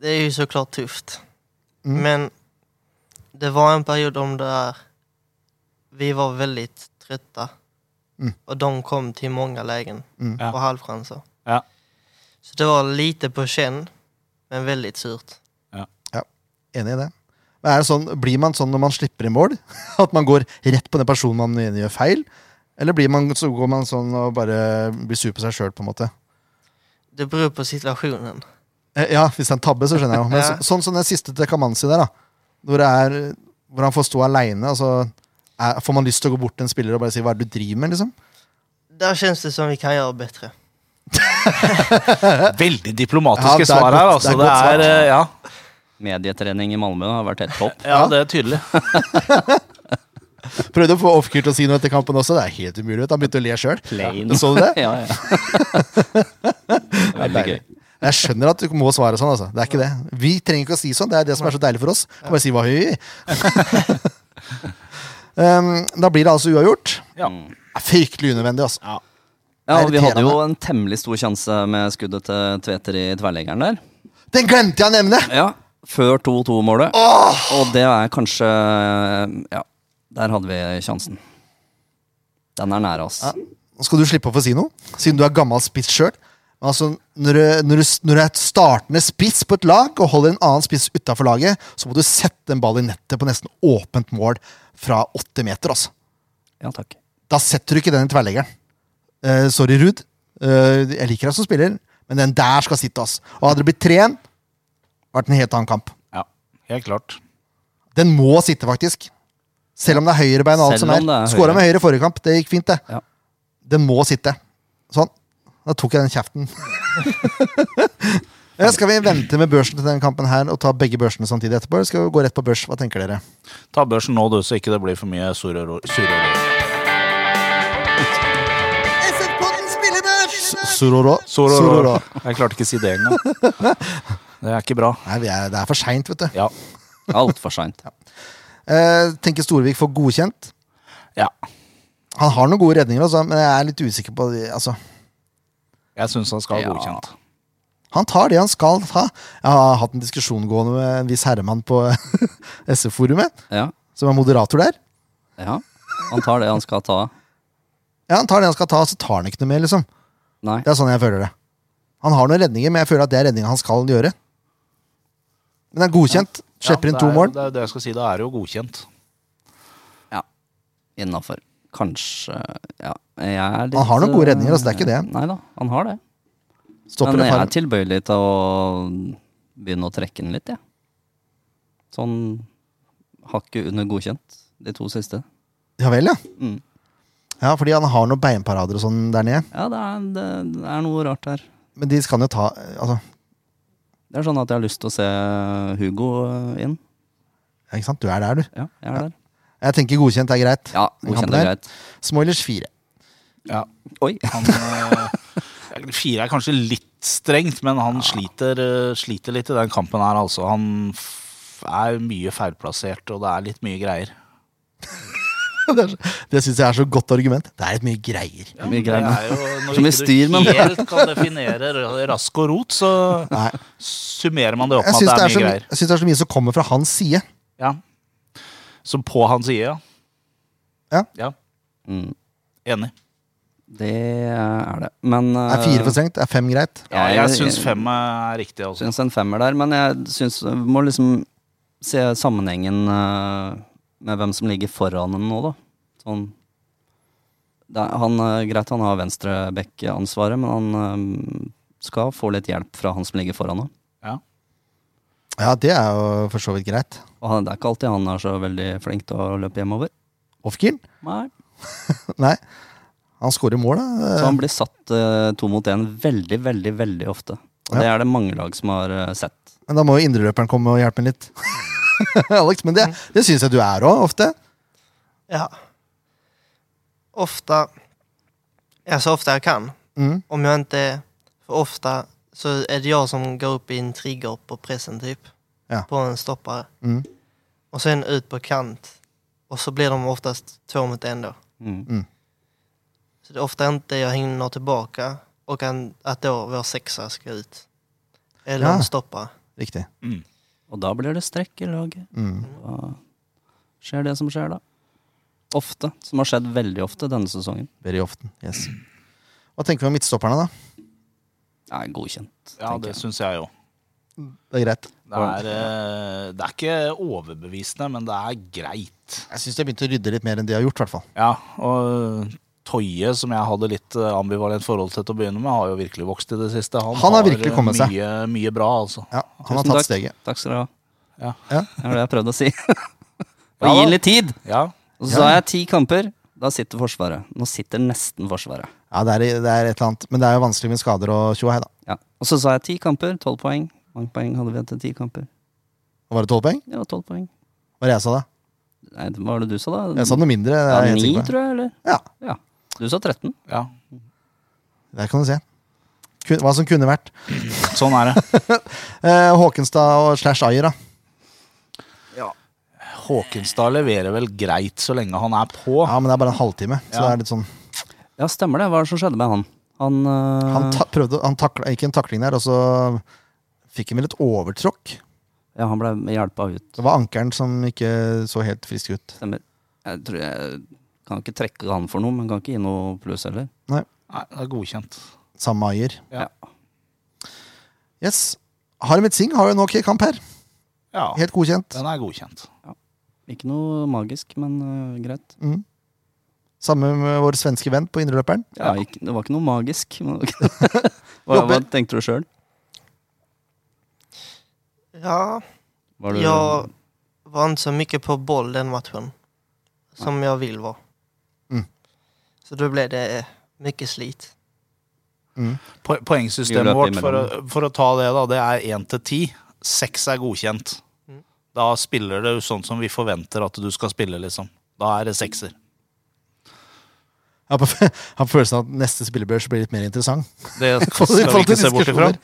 Speaker 4: Det är ju såklart tufft.
Speaker 1: Mm.
Speaker 4: Men det var en period om där vi var väldigt trötta.
Speaker 1: Mm.
Speaker 4: Och de kom till många lägen
Speaker 1: Mm.
Speaker 3: Ja.
Speaker 4: och halvchanser.
Speaker 3: Ja.
Speaker 4: Så det var lite på känn, men väldigt surt.
Speaker 1: Enig i det. Men er det sånn, blir man sånn når man slipper i mål? At man går rett på den personen man mener gjør feil? Eller blir man, så går man sånn og bare blir sur på seg sjøl, på en måte?
Speaker 4: Det beror på situationen.
Speaker 1: Eh, Ja, hvis det er en tabbe, så skjønner jeg jo. Men
Speaker 4: Ja.
Speaker 1: så, sånn som den siste til Kamanzi der, da. Hvor, det er, hvor han får stå aleine, og så er, får man lyst til å gå bort til en spiller og bare si 'hva er det du driver med', liksom.
Speaker 4: Där känns det som vi kan göra bättre.
Speaker 3: Veldig
Speaker 1: Ja,
Speaker 3: diplomatiske
Speaker 1: det er
Speaker 3: svar her,
Speaker 1: godt-
Speaker 3: altså.
Speaker 1: det er
Speaker 3: Det
Speaker 1: godt
Speaker 3: er, eh, ja,
Speaker 2: Medietrening i Malmö har vært helt topp.
Speaker 3: ja, det er tydelig.
Speaker 1: Prøvde å få Ofkir til å si noe etter kampen også. Det er helt umulig. vet du. Han begynte å le sjøl. Så du det?
Speaker 2: ja, ja. Veldig gøy.
Speaker 1: Jeg skjønner at du må svare sånn. altså. Det er ikke det. Vi trenger ikke å si sånn. Det er det som er så deilig for oss. Kan Bare si hva vi vil. um, da blir det altså uavgjort.
Speaker 3: Ja.
Speaker 1: Det er Fryktelig unødvendig, altså.
Speaker 2: Ja, og vi hadde jo
Speaker 1: Irriterende.
Speaker 2: en temmelig stor sjanse med skuddet til Tveter i tverrleggeren der.
Speaker 1: Den glemte jeg å nevne!
Speaker 2: Ja, Før 2-2-målet. Og det er kanskje Ja, der hadde vi sjansen. Den er nære oss.
Speaker 1: Nå skal du slippe å få si noe, siden du er gammel spiss sjøl. Altså, når, du- når, du- når du er et startende spiss på et lag og holder en annen spiss utafor laget, så må du sette en ball i nettet på nesten åpent mål fra åtte meter. altså.
Speaker 2: Ja, takk.
Speaker 1: Da setter du ikke den i tverrleggeren. Eh, sorry, Ruud. Eh, jeg liker deg som spiller, men den der skal sitte. ass. Og Hadde det blitt 3-1, vært en helt annen kamp.
Speaker 3: Ja, helt klart.
Speaker 1: Den må sitte, faktisk. Selv om det er høyrebein og alt
Speaker 2: Selv
Speaker 1: som
Speaker 2: om det
Speaker 1: er.
Speaker 2: er
Speaker 1: Skåra
Speaker 2: høyre.
Speaker 1: med høyre forrige kamp, det gikk fint, det.
Speaker 2: Ja.
Speaker 1: Den må sitte. Sånn. Da tok jeg den kjeften. Ja, Skal vi vente med børsen til den kampen her og ta begge børsene samtidig etterpå? Eller skal vi gå rett på børs? Hva tenker dere?
Speaker 3: Ta børsen nå, du, så ikke det blir for mye surreror. surreror-
Speaker 1: Sororo.
Speaker 3: Sororor. Jeg klarte ikke å si det engang. Det er ikke bra.
Speaker 1: Nei, vi er, det er for seint, vet du.
Speaker 3: Ja.
Speaker 2: Altfor seint.
Speaker 1: Eh, tenker Storvik får godkjent.
Speaker 3: ja.
Speaker 1: Han har noen gode redninger, altså, men jeg er litt usikker på de, altså.
Speaker 3: Jeg syns han skal ha
Speaker 2: Ja.
Speaker 3: godkjent.
Speaker 1: Han tar det han skal ta. Jeg har hatt en diskusjon gående med en viss herremann på SF-forumet,
Speaker 2: Ja,
Speaker 1: som er moderator der.
Speaker 2: ja. Han tar det han skal ta.
Speaker 1: Ja, Han tar det han skal ta, så tar han ikke noe mer. liksom.
Speaker 2: Nei.
Speaker 1: Det er sånn jeg føler det. Han har noen redninger, men jeg føler at det er redninga han skal gjøre. Men det er godkjent. Slipper
Speaker 3: Ja,
Speaker 1: inn to
Speaker 3: det er-
Speaker 1: mål.
Speaker 3: Det er jo det jeg skal si. Da er det jo godkjent.
Speaker 2: Ja. Innafor. Kanskje Ja. Jeg er litt eh,
Speaker 1: Han har noen gode redninger, altså, det er ikke det.
Speaker 2: Nei da, han har det.
Speaker 1: Stopper
Speaker 2: Men
Speaker 1: et
Speaker 2: jeg
Speaker 1: par.
Speaker 2: er tilbøyelig til å begynne å trekke den litt, jeg. Sånn hakket under godkjent, de to siste.
Speaker 1: Ja vel, ja.
Speaker 2: Mm.
Speaker 1: Ja, Fordi han har noen beinparader og sånn der nede.
Speaker 2: Ja, det er, det, det er noe rart her.
Speaker 1: Men de kan jo ta altså,
Speaker 2: Det er sånn at jeg har lyst til å se Hugo eh, inn.
Speaker 1: ja, Ikke sant? Du er der, du.
Speaker 2: Ja, jeg er der.
Speaker 1: Jeg tenker godkjent er greit.
Speaker 2: Ja, godkjent er greit.
Speaker 1: Smoilers fire.
Speaker 3: Ja.
Speaker 2: Oi.
Speaker 3: Han, eh, fire er kanskje litt strengt, men han sliter, eh, sliter litt i den kampen her, altså. Han f- er mye feilplassert, og det er litt mye greier.
Speaker 1: Det, er så- det syns jeg er så godt argument. Det er litt mye greier.
Speaker 2: Mye
Speaker 3: Det
Speaker 2: greier.
Speaker 3: er jo, når
Speaker 2: Så mye
Speaker 3: ikke
Speaker 2: styr, men-
Speaker 3: du helt kan definere ra- rask og rot, så
Speaker 1: Nei.
Speaker 3: summerer man det opp
Speaker 1: Jeg
Speaker 3: med
Speaker 1: syns
Speaker 3: at
Speaker 1: det, er så my-
Speaker 3: mye greier.
Speaker 1: jeg syns det er så mye som kommer fra hans side.
Speaker 3: Ja. Så på hans side, ja.
Speaker 1: Ja.
Speaker 2: Mm,
Speaker 3: Enig.
Speaker 2: det er det. Men eh,
Speaker 1: Er
Speaker 3: Eh.
Speaker 1: fire for strengt? Er fem greit?
Speaker 3: Ja,
Speaker 2: Ja,
Speaker 3: jeg
Speaker 2: jeg-
Speaker 3: syns fem er riktig, altså.
Speaker 2: Syns en femmer der, men jeg syns vi må liksom se sammenhengen eh, med hvem som ligger foran en nå, da. Sånn det er, han, eh, Greit, han har venstrebekk-ansvaret, men han eh, skal få litt hjelp fra han som ligger foran nå.
Speaker 3: Ja.
Speaker 1: Ja, det er jo for så vidt greit.
Speaker 2: Og han, det er ikke alltid han er så veldig flink til å løpe hjemover.
Speaker 1: Off-kill?
Speaker 2: Nei.
Speaker 1: Nei. Han skårer mål, da.
Speaker 2: Så han blir satt eh, to mot én veldig, veldig veldig ofte. Og det er det mange lag som har eh, sett.
Speaker 1: Men da må jo indreløperen komme og hjelpe ham litt. Alex, men det,
Speaker 2: Mm.
Speaker 1: det syns jeg du er òg, ofte.
Speaker 4: Ja. Ofta, ja så ofta jag kan.
Speaker 1: Mm.
Speaker 4: Om jag inte, för ofta så är det jag som går upp i en trigger på pressen typ.
Speaker 1: Ja.
Speaker 4: På en stoppare.
Speaker 1: Mm.
Speaker 4: Och sen ut på kant. Och så blir de oftast två mot en då.
Speaker 2: Mm.
Speaker 4: Så det är ofta inte jag hinner tillbaka och an- att då vår sexa ska ut. Eller
Speaker 1: Ja.
Speaker 4: en stoppare.
Speaker 1: Riktig.
Speaker 2: Og da blir det strekk i laget.
Speaker 1: Mm.
Speaker 2: Da skjer det som skjer, da. Ofte. Som har skjedd veldig ofte denne sesongen.
Speaker 1: Very often. Yes. Hva tenker vi om midtstopperne, da?
Speaker 2: Er godkjent,
Speaker 3: Ja,
Speaker 2: tenker
Speaker 3: det
Speaker 2: jeg.
Speaker 3: syns jeg jo.
Speaker 1: Det er greit.
Speaker 3: Det er, eh, det er ikke overbevisende, men det er greit.
Speaker 1: Jeg syns de har begynt å rydde litt mer enn de har gjort, i hvert fall.
Speaker 3: Ja, og Toye, som jeg hadde litt eh, ambivalent forhold til til å begynne med, har jo virkelig vokst i det siste.
Speaker 1: Han har virkelig kommet
Speaker 3: mye,
Speaker 1: seg.
Speaker 3: Mye bra, altså.
Speaker 1: Ja, han har
Speaker 2: Tusen
Speaker 1: tatt
Speaker 2: takk.
Speaker 1: steget.
Speaker 2: Takk skal du ha.
Speaker 3: Ja.
Speaker 1: Ja.
Speaker 2: Det var det jeg prøvde å si. Og
Speaker 3: Ja
Speaker 2: gi
Speaker 3: da.
Speaker 2: litt tid!
Speaker 3: Ja,
Speaker 2: Og så sa jeg ti kamper. Da sitter Forsvaret. Nå sitter nesten Forsvaret.
Speaker 1: Ja, det er, det er et eller annet. Men det er jo vanskelig med skader og tjohei, da.
Speaker 2: Ja. Og så sa jeg ti kamper, tolv poeng. Mange poeng hadde vi etter ti kamper?
Speaker 1: Var det tolv poeng?
Speaker 2: Det var tolv poeng.
Speaker 1: Hva var det jeg sa, da?
Speaker 2: Nei, hva var det du sa, da?
Speaker 1: Jeg sa noe mindre. Det
Speaker 2: ja,
Speaker 1: er jeg helt
Speaker 2: ni,
Speaker 1: sikker på.
Speaker 2: tror jeg, eller?
Speaker 1: Ja,
Speaker 2: Ja. Du sa 13.
Speaker 3: Ja,
Speaker 1: der kan du se. Kun- Hva som kunne vært.
Speaker 3: sånn er det.
Speaker 1: Eh, Håkenstad og slash Ayer, da.
Speaker 3: Håkenstad leverer vel greit så lenge han er på.
Speaker 1: Ja, men det er bare en halvtime. Så
Speaker 3: Ja.
Speaker 1: det er litt sånn
Speaker 2: Ja, stemmer det. Hva er det som skjedde med han? Han, øh,
Speaker 1: Han
Speaker 3: Ah.
Speaker 1: ta prøvde, han takla, gikk i en takling der, og så fikk han vel et overtråkk.
Speaker 2: Ja, han ble hjelpa ut.
Speaker 1: Det var ankelen som ikke så helt frisk ut.
Speaker 2: Stemmer. Jeg tror jeg kan ikke trekke han for noe, men kan ikke gi noe pluss heller.
Speaker 3: Nei, det er godkjent.
Speaker 1: Samme Ayer.
Speaker 3: Ja.
Speaker 1: Yes. Harmet Singh har jo en ok kamp her.
Speaker 3: Ja,
Speaker 1: Helt godkjent.
Speaker 3: den er godkjent.
Speaker 2: Ikke noe magisk, men øh, greit.
Speaker 1: Mm. Samme med vår svenske venn på indreløperen.
Speaker 2: Ja, ikke, det var ikke noe magisk. men- hva, hva tenkte du sjøl?
Speaker 4: Ja, jag var inte så mycket på boll den matchen. Som jag vill vara.
Speaker 1: Mm.
Speaker 4: Så då blev det eh, mycket slit.
Speaker 2: Vi
Speaker 3: Po- Poengsystemet
Speaker 2: løper
Speaker 3: vårt, for å,
Speaker 2: imellom.
Speaker 3: for å ta det, da, det er én til ti. Seks er godkjent. Da spiller du sånn som vi forventer at du skal spille, liksom. Da er det sekser.
Speaker 1: Jeg har på- jeg har på følelsen av at neste spillebørs blir litt mer interessant.
Speaker 3: Det
Speaker 1: I
Speaker 3: skal vi
Speaker 1: forhold til
Speaker 3: ikke se bort ifra.
Speaker 1: diskusjoner.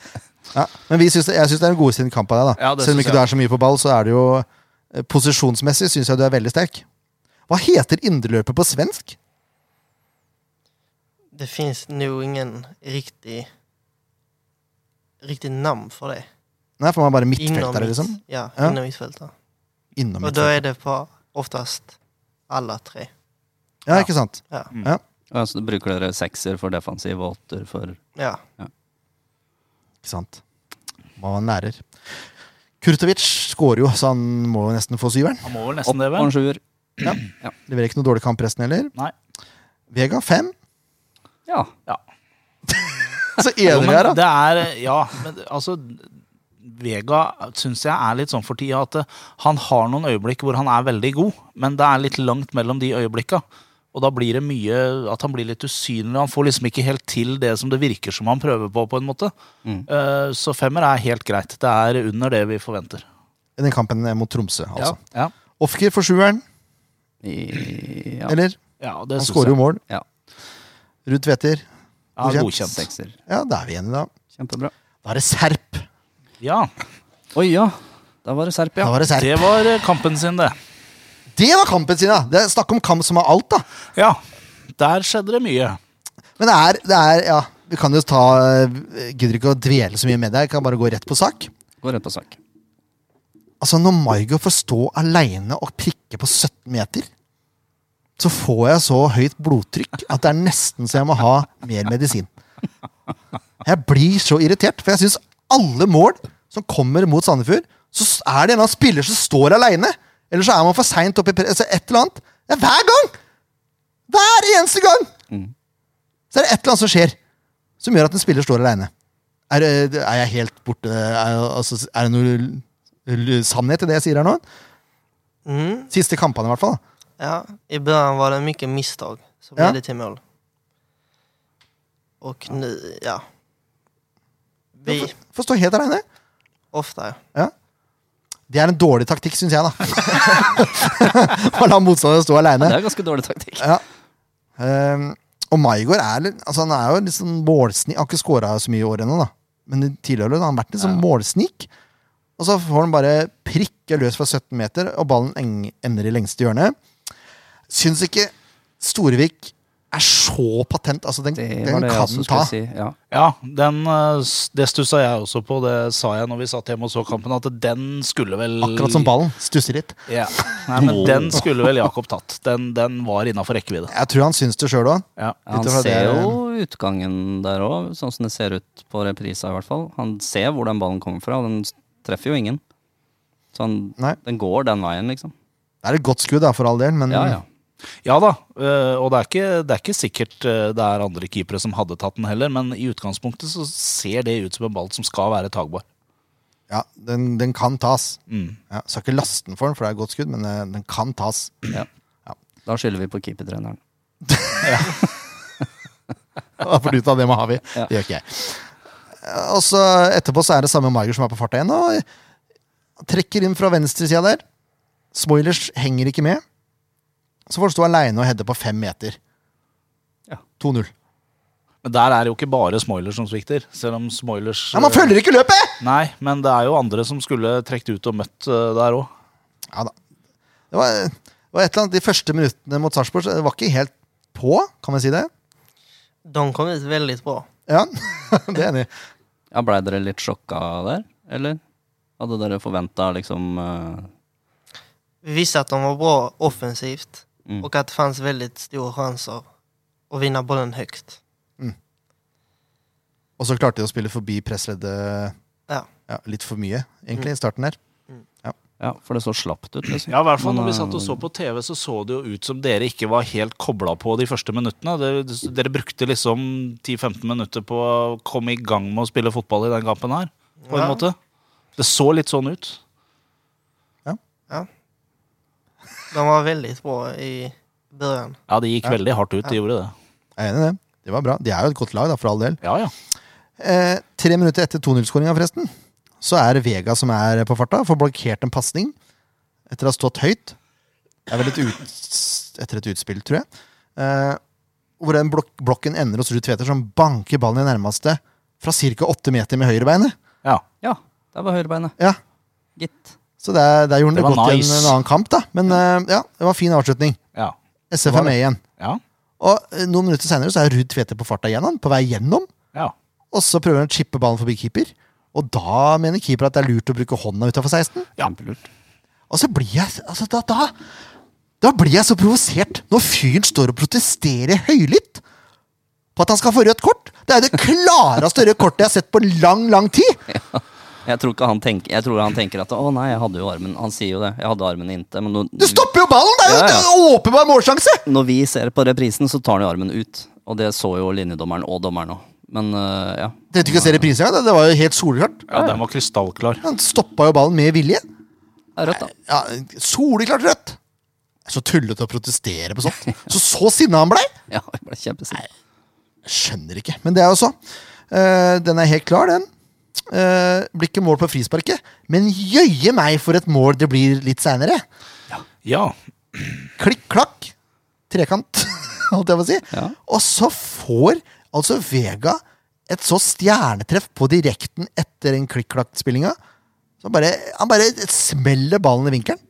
Speaker 1: Ja, men vi synes det, jeg syns det er en godkjent kamp av deg. da
Speaker 3: Ja, det
Speaker 1: Selv om
Speaker 3: synes
Speaker 1: ikke du er så mye på ball, så er det jo eh, posisjonsmessig syns jeg du er veldig sterk. Hva heter indreløper på svensk?
Speaker 4: Det finns nog ingen riktig, riktig namn för det.
Speaker 1: Nei, for man er bare
Speaker 4: Inom,
Speaker 1: midtfeltere,
Speaker 4: mitt,
Speaker 1: liksom.
Speaker 4: ja,
Speaker 1: Ja.
Speaker 4: inom mittfältare.
Speaker 1: Innom
Speaker 4: Och då är
Speaker 1: midtfelter.
Speaker 4: det på oftast alla tre.
Speaker 1: Ja, ikke sant?
Speaker 4: Ja.
Speaker 3: Mm.
Speaker 2: Ja, så bruker dere sekser for defensiv og åtter for
Speaker 4: Ja.
Speaker 1: Ikke sant. Hva han lærer. Kurtovic skårer jo, så han må jo nesten få syveren.
Speaker 3: Han må vel
Speaker 2: opp
Speaker 3: nesten det,
Speaker 2: og
Speaker 3: vel?
Speaker 2: en sjuer.
Speaker 1: Leverer ikke noe dårlig kamp resten heller.
Speaker 3: Nei.
Speaker 1: Vega fem.
Speaker 2: Ja.
Speaker 1: Så
Speaker 3: Jo,
Speaker 1: enig vi er, da.
Speaker 3: men det er Ja, men det- altså Vega syns jeg er litt sånn for tida at eh, han har noen øyeblikk hvor han er veldig god, men det er litt langt mellom de øyeblikka. Og da blir det mye at han blir litt usynlig. Han får liksom ikke helt til det som det virker som han prøver på, på en måte.
Speaker 2: Mm.
Speaker 3: Eh, Så femmer er helt greit. Det er under det vi forventer.
Speaker 1: I den kampen mot Tromsø, altså.
Speaker 3: Ja,
Speaker 1: Ofker for sjueren,
Speaker 2: I, ja.
Speaker 1: eller?
Speaker 3: ja det
Speaker 1: Han
Speaker 3: syns
Speaker 1: skårer jo
Speaker 3: jeg.
Speaker 1: mål.
Speaker 2: Ja.
Speaker 1: Ruud Tveter.
Speaker 3: Ja,
Speaker 1: godkjent.
Speaker 3: godkjent.
Speaker 2: Sekser.
Speaker 1: Ja, da er vi enige, da.
Speaker 2: Kjempebra.
Speaker 1: Da er det Serp.
Speaker 3: Ja,
Speaker 2: Oi, ja. Da var det Serp,
Speaker 1: Da
Speaker 2: ja.
Speaker 1: var det Serp.
Speaker 3: det var eh, kampen sin, det.
Speaker 1: Det var kampen sin, da! Det er snakk om kamp som er alt, da.
Speaker 3: Ja, der skjedde det mye.
Speaker 1: Men det er, det er Ja, vi kan jo ta eh, Gidder ikke å dvele så mye med det. Jeg kan bare gå rett på sak.
Speaker 2: Går rett på sak.
Speaker 1: Altså, når Maigo får stå aleine og prikke på 17 meter, så får jeg så høyt blodtrykk at det er nesten så jeg må ha mer medisin. Jeg blir så irritert, for jeg syns alle mål som kommer mot Sandefjord, så s- er det en eller annen spiller som står aleine. Eller så er man for seint oppe i pre... Altså et eller annet. Det er hver gang! Hver eneste gang! Så er det et eller annet som skjer, som gjør at en spiller står aleine. Er, det- er jeg helt borte Er, altså, er det noe l- l- sannhet i det jeg sier her nå?
Speaker 4: Mm.
Speaker 1: Siste kampene, i hvert fall. da.
Speaker 4: Ja, i början var det mycket misstag som
Speaker 1: Ja.
Speaker 4: ledde till mål. Och nu, ja.
Speaker 1: Får,
Speaker 4: Vi,
Speaker 1: får stå helt aleine.
Speaker 4: ofta,
Speaker 1: Det er en dårlig taktikk, syns jeg, da. Å la motstanderen stå
Speaker 2: Det
Speaker 1: aleine.
Speaker 2: er ganske dårlig taktikk.
Speaker 1: Ja. Ehm, og Maigård er, litt- altså, han er jo litt sånn målsnik. Han har ikke scora så mye i år ennå, da. Men i tidligere har han vært litt sånn målsnik. Og så får han bare prikke løs fra 17 meter, og ballen eng ender i lengste hjørne. Syns ikke Storevik er så patent. Altså, den,
Speaker 2: Det
Speaker 1: den
Speaker 2: var det jeg
Speaker 1: kan
Speaker 2: også skulle
Speaker 1: ta.
Speaker 2: si. Ja.
Speaker 3: Ja, den, eh, s- det stussa jeg også på. Det sa jeg når vi satt hjemme og så kampen, at den skulle vel
Speaker 1: Akkurat som ballen. Stusser litt.
Speaker 3: Ja. Nei, men den skulle vel Jakob tatt. Den, den var innafor rekkevidde.
Speaker 1: Jeg tror han syns det sjøl òg.
Speaker 3: Ja.
Speaker 2: Ja, Han
Speaker 1: Ut ifra det-
Speaker 2: ser jo utgangen der òg, sånn som det ser ut på reprisa i hvert fall. Han ser hvor den ballen kommer fra, og den s- treffer jo ingen. Så han,
Speaker 1: Nei.
Speaker 2: den går den veien, liksom.
Speaker 1: Det er et godt skudd, da, for all del, men
Speaker 2: Ja, ja.
Speaker 3: ja da, eh, og det er, ikke, det er ikke sikkert eh, det er andre keepere som hadde tatt den heller, men i utgangspunktet så ser det ut som en ball som skal være tagbar.
Speaker 1: ja, den, den kan tas.
Speaker 3: Mm.
Speaker 1: Ja, skal ikke laste den for den, for det er et godt skudd, men eh, den kan tas.
Speaker 2: Ja. Da skylder vi på keepertreneren.
Speaker 1: har fått ut av det med Havi.
Speaker 2: Ja.
Speaker 1: Det gjør ikke jeg. Og så etterpå så er det samme Maiger som er på farta igjen, og trekker inn fra venstresida der. Spoilers henger ikke med. Så får han stå aleine og heade på fem meter.
Speaker 2: Ja.
Speaker 1: 2-0.
Speaker 3: Men der er det jo ikke bare spoilers som svikter. Selv om spoilers
Speaker 1: Ja, man følger ikke løpet!
Speaker 3: Nei, men det er jo andre som skulle trukket ut og møtt eh, der òg.
Speaker 1: Ja da. Det var, det var et eller annet, De første minuttene mot Sarpsborg så det var ikke helt på, kan vi si det?
Speaker 4: De kom ut väldigt bra.
Speaker 1: Ja, det er jeg enig. i.
Speaker 2: Ja, Blei dere litt sjokka der, eller? Hadde dere forventa liksom eh,
Speaker 4: Vi visste att de var bra offensivt
Speaker 2: Mm.
Speaker 4: och att det fanns väldigt stora chanser att vinna bollen högt.
Speaker 1: Og så klarte de å spille forbi pressleddet
Speaker 4: Ja.
Speaker 1: ja, litt for mye, egentlig, i starten der.
Speaker 2: Ja, for det så slapt ut, liksom.
Speaker 3: Ja, i hvert fall når
Speaker 2: Men,
Speaker 3: vi satt og så på TV, så så det jo ut som dere ikke var helt kobla på de første minuttene. Dere, dere brukte liksom 10-15 minutter på å komme i gang med å spille fotball i den kampen her, på en
Speaker 4: Ja.
Speaker 3: måte. Det så litt sånn ut.
Speaker 4: De var väldigt bra i början.
Speaker 3: Ja, det gikk veldig hardt ut, de gjorde det.
Speaker 1: Jeg er enig i det. Det var bra. De er jo et godt lag, da, for all del.
Speaker 3: Ja, ja.
Speaker 1: Eh, tre minutter etter 2-0-skåringa, forresten, så er det Vega som er på farta. Får blokkert en pasning etter å ha stått høyt. Det er vel et ut, etter et utspill, tror jeg. Eh, hvor den blok blokken ender hos Ruud Tveter, som banker ballen i nærmeste fra ca. åtte meter med høyrebeinet.
Speaker 3: ja.
Speaker 2: Ja, der var høyrebeinet.
Speaker 1: Ja,
Speaker 2: Gitt.
Speaker 1: så der, der gjorde han
Speaker 3: Det
Speaker 1: det,
Speaker 3: var
Speaker 1: godt
Speaker 3: nice.
Speaker 1: i en, en annen kamp, da. Men eh, ja, det var en fin avslutning.
Speaker 3: ja.
Speaker 1: SF er med igjen.
Speaker 3: ja.
Speaker 1: Og eh, noen minutter senere så er Ruud Tveter på farta igjen, han, på vei gjennom.
Speaker 3: ja.
Speaker 1: Og så prøver han å chippe ballen forbi keeper. Og da mener keeper at det er lurt å bruke hånda utafor 16.
Speaker 2: Kjempelurt.
Speaker 1: Og så blir jeg altså da, da, da blir jeg så provosert når fyren står og protesterer høylytt på at han skal få rødt kort. Det er det klareste røde kortet jeg har sett på lang, lang tid!
Speaker 2: Jeg tror, ikke han tenker, jeg tror han tenker at 'å nei, jeg hadde jo armen'. Han sier jo det. 'Jeg hadde armen inntil', men
Speaker 1: Du
Speaker 2: nå,
Speaker 1: stopper jo ballen! Det er jo
Speaker 2: Ja,
Speaker 1: det
Speaker 2: ja.
Speaker 1: er jo åpenbar målsjanse!
Speaker 2: når vi ser på reprisen, så tar han jo armen ut. Og det så jo linjedommeren og dommeren òg. Men eh, ja.
Speaker 1: Trengte ikke å se reprisen engang. det- Det var jo helt solklart.
Speaker 3: ja den var krystallklar.
Speaker 1: Han stoppa jo ballen med vilje.
Speaker 2: Det er rødt, da.
Speaker 1: Ja, Soleklart rødt! Så tullete å protestere på sånt. Så så sinna han blei!
Speaker 2: Ja, jeg ble kjempesint.
Speaker 1: Skjønner ikke. Men det er jo så. Eh, den er helt klar, den. Eh, blir ikke mål på frisparket, men jøye meg for et mål det blir litt seinere.
Speaker 3: Ja.
Speaker 1: Klikk, klakk. Trekant, holdt jeg på å si.
Speaker 2: Ja.
Speaker 1: Og så får altså Vega et så stjernetreff på direkten etter den klikk-klakk-spillinga. Så han bare, han bare smeller ballen i vinkelen.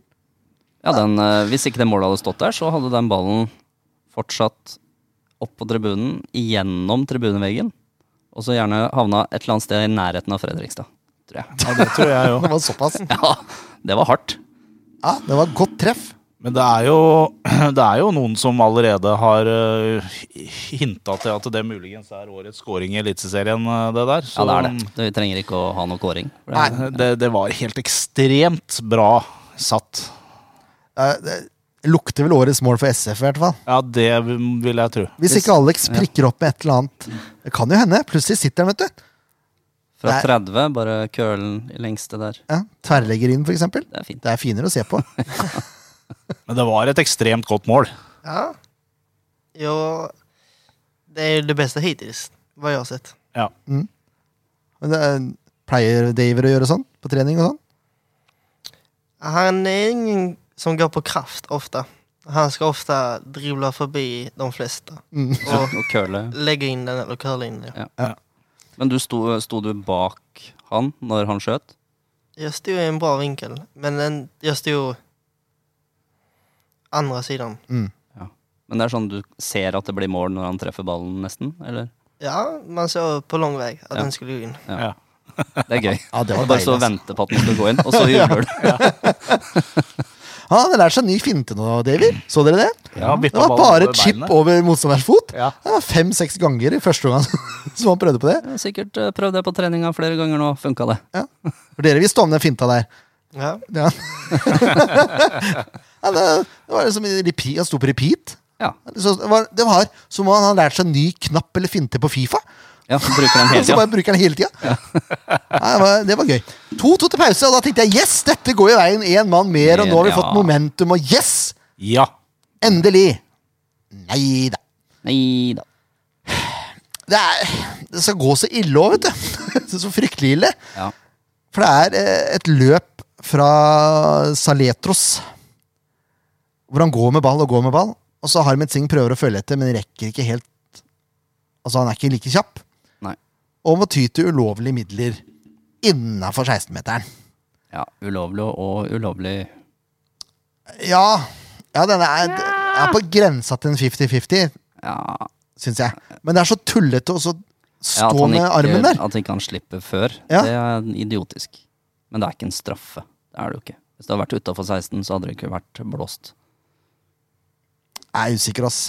Speaker 2: Ja, den, eh, hvis ikke det målet hadde stått der, så hadde den ballen fortsatt opp på tribunen, gjennom tribuneveggen, og så gjerne havna et eller annet sted i nærheten av Fredrikstad, tror jeg.
Speaker 3: ja, det tror jeg òg.
Speaker 1: Det var såpass.
Speaker 2: Ja, det var hardt.
Speaker 1: Ja, det var et godt treff.
Speaker 3: Men det er, jo, det er jo noen som allerede har uh, hinta til at det muligens er årets scoring i Eliteserien, eh, det der.
Speaker 2: Ja,
Speaker 3: Så
Speaker 2: det er det. Vi trenger ikke å ha noe kåring. for det-
Speaker 3: Nei, det, det var helt ekstremt bra satt.
Speaker 1: Eh, det lukter vel årets mål for SF, i hvert fall.
Speaker 3: Ja, det vil jeg tro.
Speaker 1: Hvis ikke Alex prikker opp med et eller annet. Det kan jo hende. Plutselig sitter han, vet du.
Speaker 2: Fra
Speaker 1: Nei.
Speaker 2: 30, bare kølen i lengste der.
Speaker 1: Ja, tverrlegger inn, for eksempel.
Speaker 2: Det er fint.
Speaker 1: Det er finere å se på.
Speaker 3: Men det var et ekstremt godt mål.
Speaker 4: Ja. Jo, det är ju det bästa hittills, vad jag har sett.
Speaker 3: Ja.
Speaker 1: Men det er, pleier Daver å gjøre sånn på trening og sånn?
Speaker 4: Han är ingen som går på kraft ofta. Han ska ofta dribbla förbi de flesta och
Speaker 2: Og køle.
Speaker 4: lägga in den eller curla in den.
Speaker 2: Ja. Men du sto, sto du bak han når han skjøt?
Speaker 4: Jag stod i en bra vinkel, men den, jag stod andra sidan.
Speaker 2: Men det er sånn du ser at det blir mål når han treffer ballen, nesten? Eller?
Speaker 4: Ja, man såg på lång väg att
Speaker 2: Ja.
Speaker 4: den skulle gå in.
Speaker 3: Ja.
Speaker 2: Det er gøy.
Speaker 1: Ja, det var
Speaker 2: bare
Speaker 1: deilig,
Speaker 2: stå og vente på at den skal gå inn, og så jubler du.
Speaker 1: Ah, Han hadde lært seg en ny finte nå, Daver. Så dere det?
Speaker 3: Ja, bytta
Speaker 1: det var
Speaker 3: ballen
Speaker 1: bare
Speaker 3: over
Speaker 1: et chip
Speaker 3: beinet.
Speaker 1: over motstanders fot.
Speaker 3: Ja.
Speaker 1: Det var Fem-seks ganger i første gang som han prøvde på det.
Speaker 2: Jeg har Sikkert eh, prøvd det på treninga flere ganger nå, funka det.
Speaker 1: Ja. For dere visste om den finta der.
Speaker 4: Ja.
Speaker 1: Ja. ja, det, det var liksom i repeat, Han sto på repeat.
Speaker 2: Ja,
Speaker 1: Så det var, det var som om han hadde lært seg en ny knapp eller finte på Fifa.
Speaker 2: ja Bruker den hele
Speaker 1: Så
Speaker 2: tida.
Speaker 1: bare bruker den hele tida. Nei, det, var- det var gøy. 2-2 til pause, og da tenkte jeg yes, dette går i veien. Én mann mer, og nå har vi
Speaker 2: Ja.
Speaker 1: fått momentum, og yes!
Speaker 3: Ja.
Speaker 1: Endelig! Nei da.
Speaker 2: Nei da.
Speaker 1: det, er, det skal gå så ille òg, vet du. Så fryktelig ille.
Speaker 2: Ja.
Speaker 1: For det er eh, et løp fra Saletros. Hvor han går med ball og går med ball. Og så Harmet Singh prøver å følge etter, men rekker ikke helt Altså, han er ikke like kjapp.
Speaker 2: Nei.
Speaker 1: Og må ty til ulovlige midler innafor 16-meteren.
Speaker 2: Ja, ulovlig og ulovlig.
Speaker 1: Ja, ja den er, er på grensa til en 50-50,
Speaker 2: Ja,
Speaker 1: syns jeg. Men det er så tullete å så
Speaker 2: ja, at
Speaker 1: stå
Speaker 2: han
Speaker 1: med armen der.
Speaker 2: At ikke han slipper før,
Speaker 1: Ja.
Speaker 2: det er idiotisk. Men det er ikke en straffe. Det er det jo ikke. Hvis det hadde vært utafor 16, så hadde det ikke vært blåst.
Speaker 1: Jeg er usikker, ass.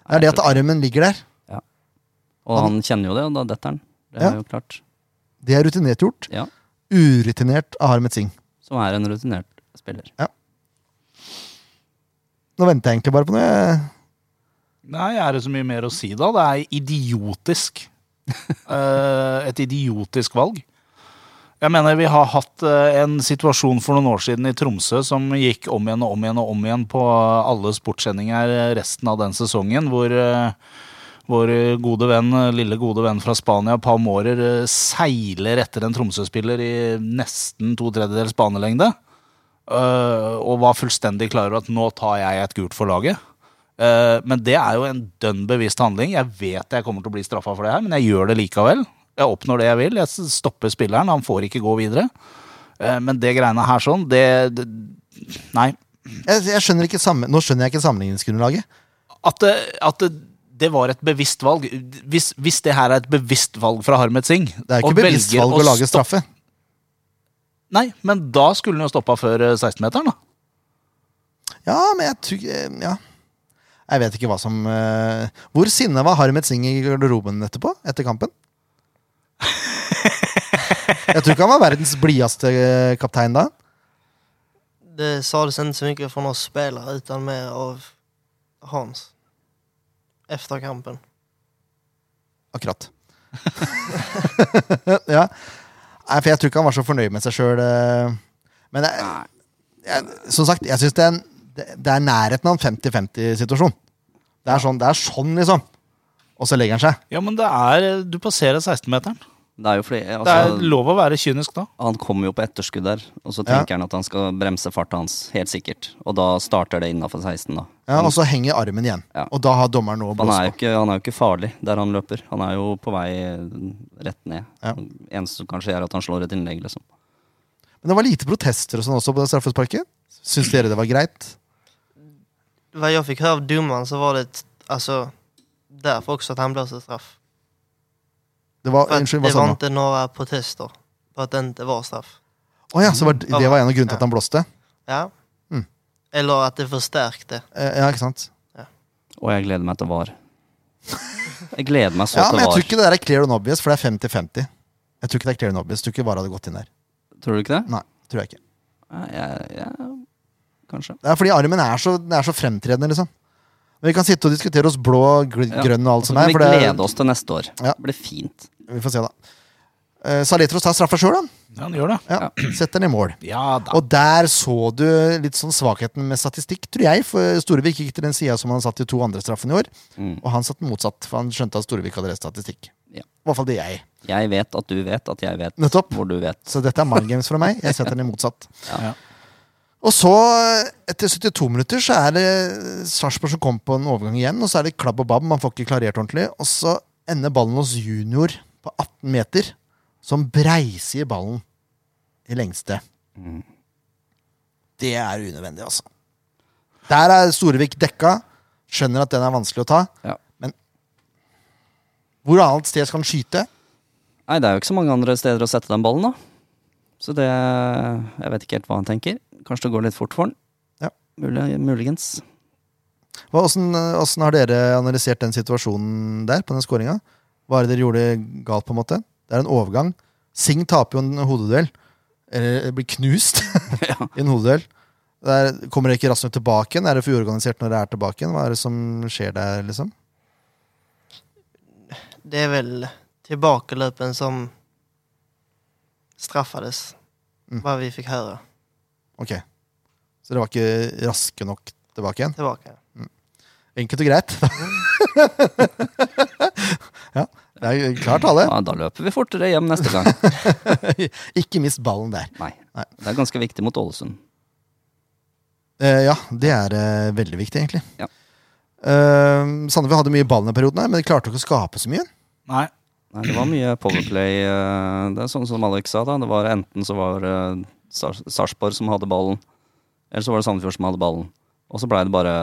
Speaker 1: Det er det at armen ligger der.
Speaker 2: Og han, kjenner jo det, og da detter han. Det
Speaker 1: Ja.
Speaker 2: er jo klart.
Speaker 1: Det er rutinert gjort.
Speaker 2: Ja.
Speaker 1: Urutinert av Harmet Singh.
Speaker 2: Som er en rutinert spiller.
Speaker 1: Nå venter jeg egentlig bare på noe.
Speaker 3: Nei, er det så mye mer å si da? Det er idiotisk. Eh, et idiotisk valg. Jeg mener vi har hatt eh, en situasjon for noen år siden i Tromsø som gikk om igjen og om igjen og om igjen på alle sportssendinger eh, resten av den sesongen, hvor eh, vår gode venn, lille gode venn fra Spania, Pau Mårer, eh, seiler etter en Tromsø-spiller i nesten to tredjedels banelengde. eh, og var fullstendig klar over at nå tar jeg et gult for laget. Eh, Men det er jo en dønn bevisst handling. Jeg vet jeg kommer til å bli straffa for det her, men jeg gjør det likevel. Jeg oppnår det jeg vil. Jeg s- stopper spilleren. Han får ikke gå videre. Eh, Men det greiene her sånn, det, det Nei.
Speaker 1: Jeg, jeg skjønner ikke sammen, nå skjønner jeg ikke sammenligningsgrunnlaget.
Speaker 3: At det, at det, det var et bevisst valg hvis, hvis det her er et bevisst valg fra Harmet Singh
Speaker 1: Det er jo
Speaker 3: og
Speaker 1: ikke bevisst
Speaker 3: velger
Speaker 1: valg å lage straffe.
Speaker 3: stoppe- Nei, men da skulle han jo stoppa før eh, 16-meteren, da.
Speaker 1: Ja, men jeg tror eh, Ja. Jeg vet ikke hva som eh, Hvor sinna var Harmet Singh i garderoben etterpå? Etter kampen? Jeg tror ikke han var verdens blideste eh, kaptein da.
Speaker 4: Det sades inte så mycket från oss spelare utan mer av Hans. Efter kampen.
Speaker 1: Akkurat. ja. Nei, for jeg tror ikke han var så fornøyd med seg sjøl. Men jeg, jeg, som sagt, jeg syns det, er en- det det er nærheten av en 50-50-situasjon. Det, er sånn, det er sånn, liksom. Og så legger han seg.
Speaker 3: Ja, men det er Du passerer 16-meteren.
Speaker 2: Det er jo fordi
Speaker 3: Det er
Speaker 2: altså,
Speaker 3: lov å være kynisk da.
Speaker 2: Han kommer jo på etterskudd der, og så
Speaker 1: Ja.
Speaker 2: tenker han at han skal bremse farta hans. Helt sikkert. Og da starter det innafor 16, da.
Speaker 1: Ja, og så henger armen igjen.
Speaker 2: Mm. Ja.
Speaker 1: Og da har dommeren noe å
Speaker 2: Han er,
Speaker 1: blåse
Speaker 2: jo
Speaker 1: på.
Speaker 2: ikke, han er jo ikke farlig der han løper. Han er jo på vei eh, rett ned.
Speaker 1: Ja.
Speaker 2: Eneste som kan skje, er at han slår et innlegg, liksom.
Speaker 1: Men det var lite protester og sånn også på det straffesparket. Syns dere det var greit?
Speaker 4: Vad jag fick höra av domaren så var det ett- alltså därför också att han blåste straff.
Speaker 1: Det var,
Speaker 4: För att
Speaker 1: unnskyld, hva
Speaker 4: det
Speaker 1: sa
Speaker 4: var
Speaker 1: han?
Speaker 4: inte några protester på att det inte var straff.
Speaker 1: Å ja, så var, det var en av grunnene til at han blåste?
Speaker 4: Ja.
Speaker 1: Mm.
Speaker 4: Eller att det förstärkte.
Speaker 1: Eh, Ja, ikke sant?
Speaker 2: Og jeg gleder meg til VAR. Jeg gleder meg så
Speaker 1: Ja,
Speaker 2: til
Speaker 1: men jeg
Speaker 2: VAR.
Speaker 1: tror ikke det der er clear and obvious, for det er 50-50. Jeg tror ikke det er clear and obvious. Jeg tror ikke VAR hadde gått inn der.
Speaker 2: Tror du ikke det?
Speaker 1: Nei, tror jeg ikke.
Speaker 2: Nei, jeg, jeg, kanskje.
Speaker 1: Det er fordi armen er så, den er så fremtredende, liksom. Men vi kan sitte og diskutere oss blå, gr
Speaker 2: Ja.
Speaker 1: grønn og
Speaker 2: Og
Speaker 1: alt
Speaker 2: så
Speaker 1: sånt
Speaker 2: kan
Speaker 1: der.
Speaker 2: vi
Speaker 1: For det,
Speaker 2: glede oss til neste år.
Speaker 1: Ja.
Speaker 2: Det blir fint.
Speaker 1: vi får se, da. Eh, Saletros tar straffa sjøl, han.
Speaker 3: Ja, han gjør det.
Speaker 1: Ja, Setter den i mål.
Speaker 3: Ja da.
Speaker 1: Og der så du litt sånn svakheten med statistikk, tror jeg. For Storevik gikk til den sida som han satt i to andre straffene i år.
Speaker 2: Mm.
Speaker 1: Og han satt den motsatt, for han skjønte at Storevik hadde rett statistikk.
Speaker 2: Ja.
Speaker 1: I hvert fall det jeg.
Speaker 2: Jeg vet at du vet at jeg vet
Speaker 1: Nettopp.
Speaker 2: hvor du vet.
Speaker 1: Så dette er mind games fra meg. Jeg setter den i motsatt.
Speaker 3: Ja.
Speaker 1: Og så, etter 72 minutter, så er det Sarpsborg som kommer på en overgang igjen. Og så er det klabb og babb, man får ikke klarert ordentlig. Og så ender ballen hos junior på 18 meter, som breiser ballen i lengste.
Speaker 3: Mm.
Speaker 1: Det er unødvendig, altså. Der er Storevik dekka. Skjønner at den er vanskelig å ta.
Speaker 2: Ja.
Speaker 1: Hvor annet sted skal han skyte?
Speaker 2: Nei, det er jo ikke så mange andre steder å sette den ballen, da. Så det Jeg vet ikke helt hva han tenker. Kanskje det går litt fort for han.
Speaker 1: Ja.
Speaker 2: Mulig, muligens.
Speaker 1: Hva- Åssen åssen har dere analysert den situasjonen der, på den skåringa? Hva er det dere gjorde galt, på en måte? Det er en overgang. Singh taper jo en hodeduell. Eller eh, blir knust
Speaker 2: Ja.
Speaker 1: i en hodeduell. Der kommer ikke raskt nok tilbake igjen? Er det for uorganisert når det er tilbake igjen? Hva er det som skjer der, liksom?
Speaker 4: Det är väl tillbakalöpen som straffades.
Speaker 1: Mm.
Speaker 4: Vad vi fick höra
Speaker 1: Ok. Så dere var ikke raske nok tilbake igjen?
Speaker 4: tillbaka.
Speaker 1: Enkelt og greit. Ja, det er jo klart alle.
Speaker 2: Ja, da løper vi fortere hjem neste gang.
Speaker 1: Ikke mist ballen der.
Speaker 2: Nei.
Speaker 1: Nei.
Speaker 2: Det er ganske viktig mot Ålesund.
Speaker 1: Eh, ja, det er eh, veldig viktig, egentlig.
Speaker 2: Ja.
Speaker 1: Eh, Sandefjord hadde mye ball denne perioden, her, men de klarte ikke å skape så mye.
Speaker 3: Nei.
Speaker 2: Nei, det var mye powerplay. eh, Det er sånn som Alex sa, da. Det var enten så var eh, Sars- Sarpsborg som hadde ballen, eller så var det Sandefjord som hadde ballen. Og så blei det bare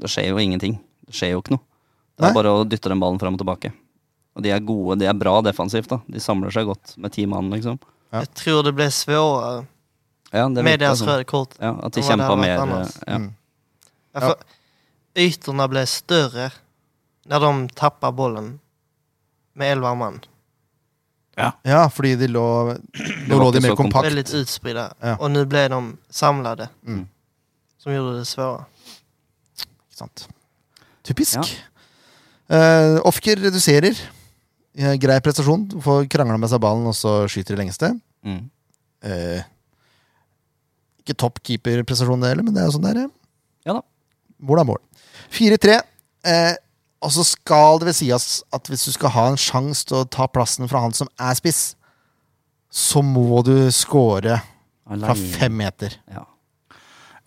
Speaker 2: Det skjer jo ingenting. Det skjer jo ikke noe. Det
Speaker 1: Nei.
Speaker 2: er bare å dytte den ballen fram og tilbake. Og de er gode, de er bra defensivt, da. De samler seg godt med ti mann, liksom.
Speaker 1: Ja.
Speaker 4: Jeg tror det ble svårere
Speaker 2: Ja, det
Speaker 4: med
Speaker 2: virker
Speaker 4: deres
Speaker 2: sånn.
Speaker 4: røde kort.
Speaker 2: Ja, at de
Speaker 4: Det var det
Speaker 2: kjempa
Speaker 4: det
Speaker 2: mer.
Speaker 4: var
Speaker 2: eh,
Speaker 4: annerledes.
Speaker 2: Ja.
Speaker 1: Mm.
Speaker 4: Ja, for Ytorna ble større når de tappa bollen med elleve mann.
Speaker 1: Ja, fordi de lå Nå
Speaker 2: var
Speaker 1: lå de
Speaker 2: ikke
Speaker 1: mer
Speaker 2: så kompakt.
Speaker 1: kompakt.
Speaker 4: Veldig utspridda.
Speaker 1: Ja.
Speaker 4: Og nå ble de samlede,
Speaker 1: Mm.
Speaker 4: som gjorde det svåre.
Speaker 1: Ikke sant? Typisk.
Speaker 2: Ja.
Speaker 1: Eh, Ofker reduserer. Eh, grei prestasjon. Får krangla med seg ballen, og så skyter de lengste.
Speaker 2: Mm.
Speaker 1: Eh, ikke topp keeperprestasjon, det heller, men det er jo sånn det er.
Speaker 2: Ja da.
Speaker 1: Mål er mål. 4-3. Eh, og så skal det vel sies at hvis du skal ha en sjanse til å ta plassen fra han som er spiss, så må du score fra
Speaker 2: Alene.
Speaker 1: fem meter.
Speaker 2: Ja.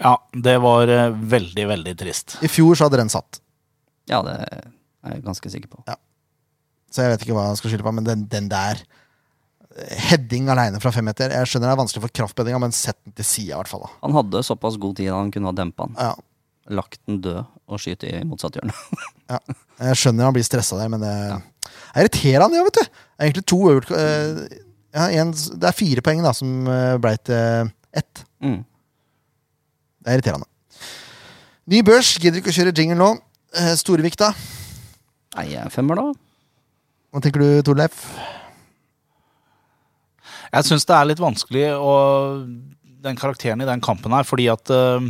Speaker 3: Ja, det var eh, veldig, veldig trist.
Speaker 1: I fjor så hadde den satt.
Speaker 2: ja, det er jeg ganske sikker på.
Speaker 1: Så jeg vet ikke hva han skal skylde på, men den, den der eh, Heading aleine fra femmeter. Jeg skjønner det er vanskelig for kraftbeddinga, men sett den til sida, i hvert fall. da.
Speaker 2: Han hadde såpass god tid at han kunne ha dempa den.
Speaker 1: Ja,
Speaker 2: Lagt den død og skyte i motsatt hjørne.
Speaker 1: jeg skjønner han blir stressa der, men eh, det er irriterende, ja, vet du. Det er egentlig to øvert, eh, ja, en, Det er fire poeng da, som eh, ble til ett.
Speaker 2: Mm.
Speaker 1: Det er irriterende. Ny børs. Gidder ikke å kjøre jingle nå. Eh, Storevik, da?
Speaker 2: Nei, jeg er femmer, da.
Speaker 1: Hva tenker du, Torleif?
Speaker 3: Jeg syns det er litt vanskelig å Den karakteren i den kampen her, fordi at eh,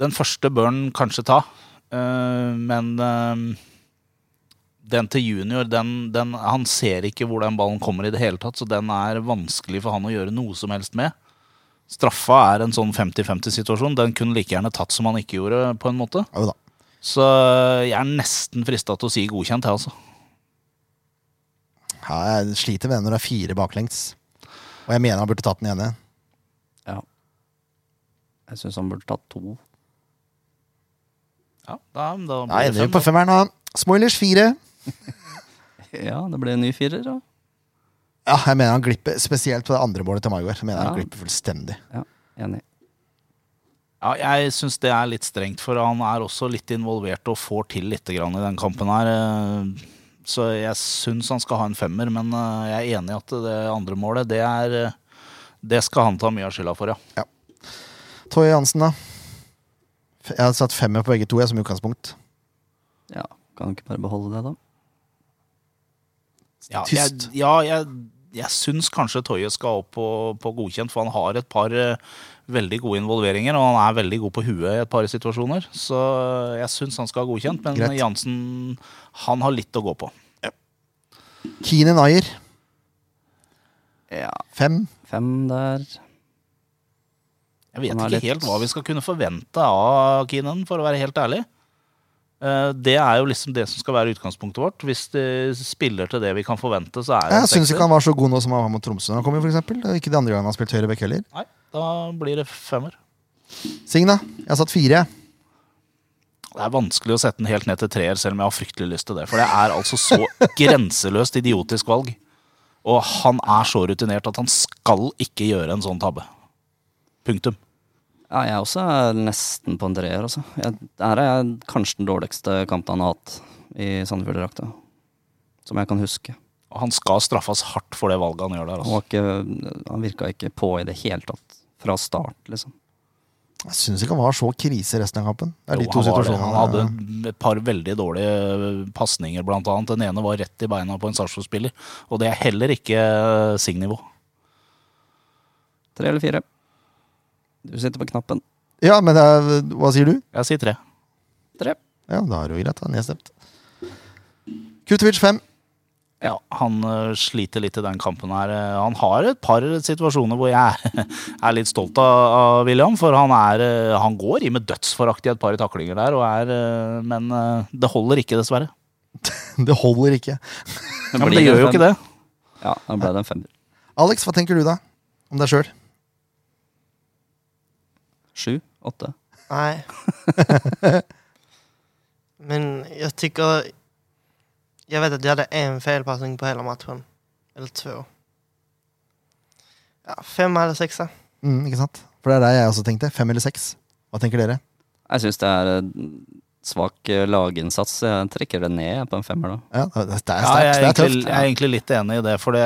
Speaker 3: Den første bør han kanskje ta, eh, men eh, den til junior, den, den, han ser ikke hvor den ballen kommer i det hele tatt, så den er vanskelig for han å gjøre noe som helst med. Straffa er en sånn 50-50-situasjon. Den kunne like gjerne tatt som han ikke gjorde, på en måte.
Speaker 1: Ja, jo da.
Speaker 3: Så eh, jeg er nesten frista til å si godkjent, jeg, altså.
Speaker 1: Ja, jeg sliter med det når det er fire baklengs. Og jeg mener han burde tatt den ene.
Speaker 2: Ja. Jeg syns han burde tatt to.
Speaker 3: Ja, da, da blir
Speaker 1: Nei,
Speaker 3: det
Speaker 1: det er
Speaker 3: fem,
Speaker 1: jo på
Speaker 3: da.
Speaker 1: femmeren, da. Smoilers fire.
Speaker 2: Ja, det ble en ny firer, da.
Speaker 1: Ja, jeg mener han glipper, spesielt på det andre målet til Maigard. Jeg mener han
Speaker 2: Ja.
Speaker 1: glipper fullstendig.
Speaker 2: Ja, enig.
Speaker 3: Ja, jeg syns det er litt strengt, for han er også litt involvert og får til litt grann i den kampen her. eh, Så jeg syns han skal ha en femmer, men eh, jeg er enig i at det andre målet, det er eh, Det skal han ta mye av skylda for, ja.
Speaker 1: Toje Hansen, da. F- Jeg har satt femmer på begge to, jeg, som utgangspunkt.
Speaker 2: Ja, Kan du ikke bare beholde det, da?
Speaker 3: Ja,
Speaker 1: Tyst.
Speaker 3: Jeg, ja, jeg, jeg syns kanskje Toye skal opp på, på godkjent, for han har et par eh, veldig gode involveringer, og han er veldig god på huet i et par situasjoner. Så eh, jeg syns han skal ha godkjent, men
Speaker 1: Greit.
Speaker 3: Jansen, han har litt å gå på.
Speaker 1: Keenan Ayer,
Speaker 2: Ja,
Speaker 1: fem.
Speaker 2: Fem der.
Speaker 3: Jeg vet
Speaker 2: Han er
Speaker 3: ikke
Speaker 2: litt-
Speaker 3: helt hva vi skal kunne forvente av Keenan, for å være helt ærlig. Eh, Det er jo liksom det som skal være utgangspunktet vårt. Hvis det spiller til det vi kan forvente, så er det en
Speaker 1: Jeg syns
Speaker 3: sekser.
Speaker 1: ikke han var så god nå som han var mot Tromsø da han kom, for eksempel. Og Ikke de andre gangene han spilte høyre bekk heller.
Speaker 3: Nei, da blir det femmer.
Speaker 1: Signa, jeg har satt fire. jeg.
Speaker 3: Det er vanskelig å sette den helt ned til treer, selv om jeg har fryktelig lyst til det. For det er altså så grenseløst idiotisk valg. Og han er så rutinert at han skal ikke gjøre en sånn tabbe. Punktum.
Speaker 2: Ja, jeg også er nesten på en treer, altså. Jeg, her er jeg kanskje den dårligste kampen han har hatt i Sandefjord-drakta. Som jeg kan huske.
Speaker 3: Og han skal straffes hardt for det valget han gjør der.
Speaker 2: Han,
Speaker 3: Altså.
Speaker 2: var ikke, han virka ikke på i det hele tatt. Fra start, liksom.
Speaker 1: Jeg syns ikke han var så krise resten av kampen. Det er de
Speaker 3: Jo,
Speaker 1: to
Speaker 3: han, var det.
Speaker 1: situasjonene.
Speaker 3: han hadde et par veldig dårlige eh, pasninger, blant annet. Den ene var rett i beina på en Sarpsborg-spiller, og det er heller ikke eh, Sig-nivå.
Speaker 2: Tre eller fire. Du sitter på knappen.
Speaker 1: Ja, men det er, hva sier du?
Speaker 3: Jeg sier tre.
Speaker 2: Tre.
Speaker 1: Ja, da er det jo greit. da, Nedstemt. Kutovic fem.
Speaker 3: Ja, han ø, sliter litt i den kampen her. Eh, Han har et par situasjoner hvor jeg er, er litt stolt av, av William, for han, er, ø, eh, han går i med dødsforakt i et par taklinger der, og er, ø, men ø, det holder ikke, dessverre.
Speaker 1: Det holder ikke.
Speaker 3: Ja, men det gjør jo ikke det.
Speaker 2: Ja, da ble det en femmer.
Speaker 1: Alex, hva tenker du da? Om deg sjøl?
Speaker 2: Sju? Åtte?
Speaker 4: Nej. Men jag tycker... Jag vet att jag hade en felpassning på hela matchen. Eller två. Ja, femma eller sexa.
Speaker 1: Mm, ikke sant? For det er det jeg også tenkte. Fem eller seks. Hva tenker dere?
Speaker 2: Jeg syns det er eh, svak eh, laginnsats. så Jeg trekker det ned jeg, på en femmer, da.
Speaker 1: Ja, det det er
Speaker 3: Ja, jeg,
Speaker 1: sterkt. Det
Speaker 3: er
Speaker 1: er
Speaker 3: egentlig,
Speaker 1: tøft.
Speaker 3: jeg er egentlig litt enig i det, for det,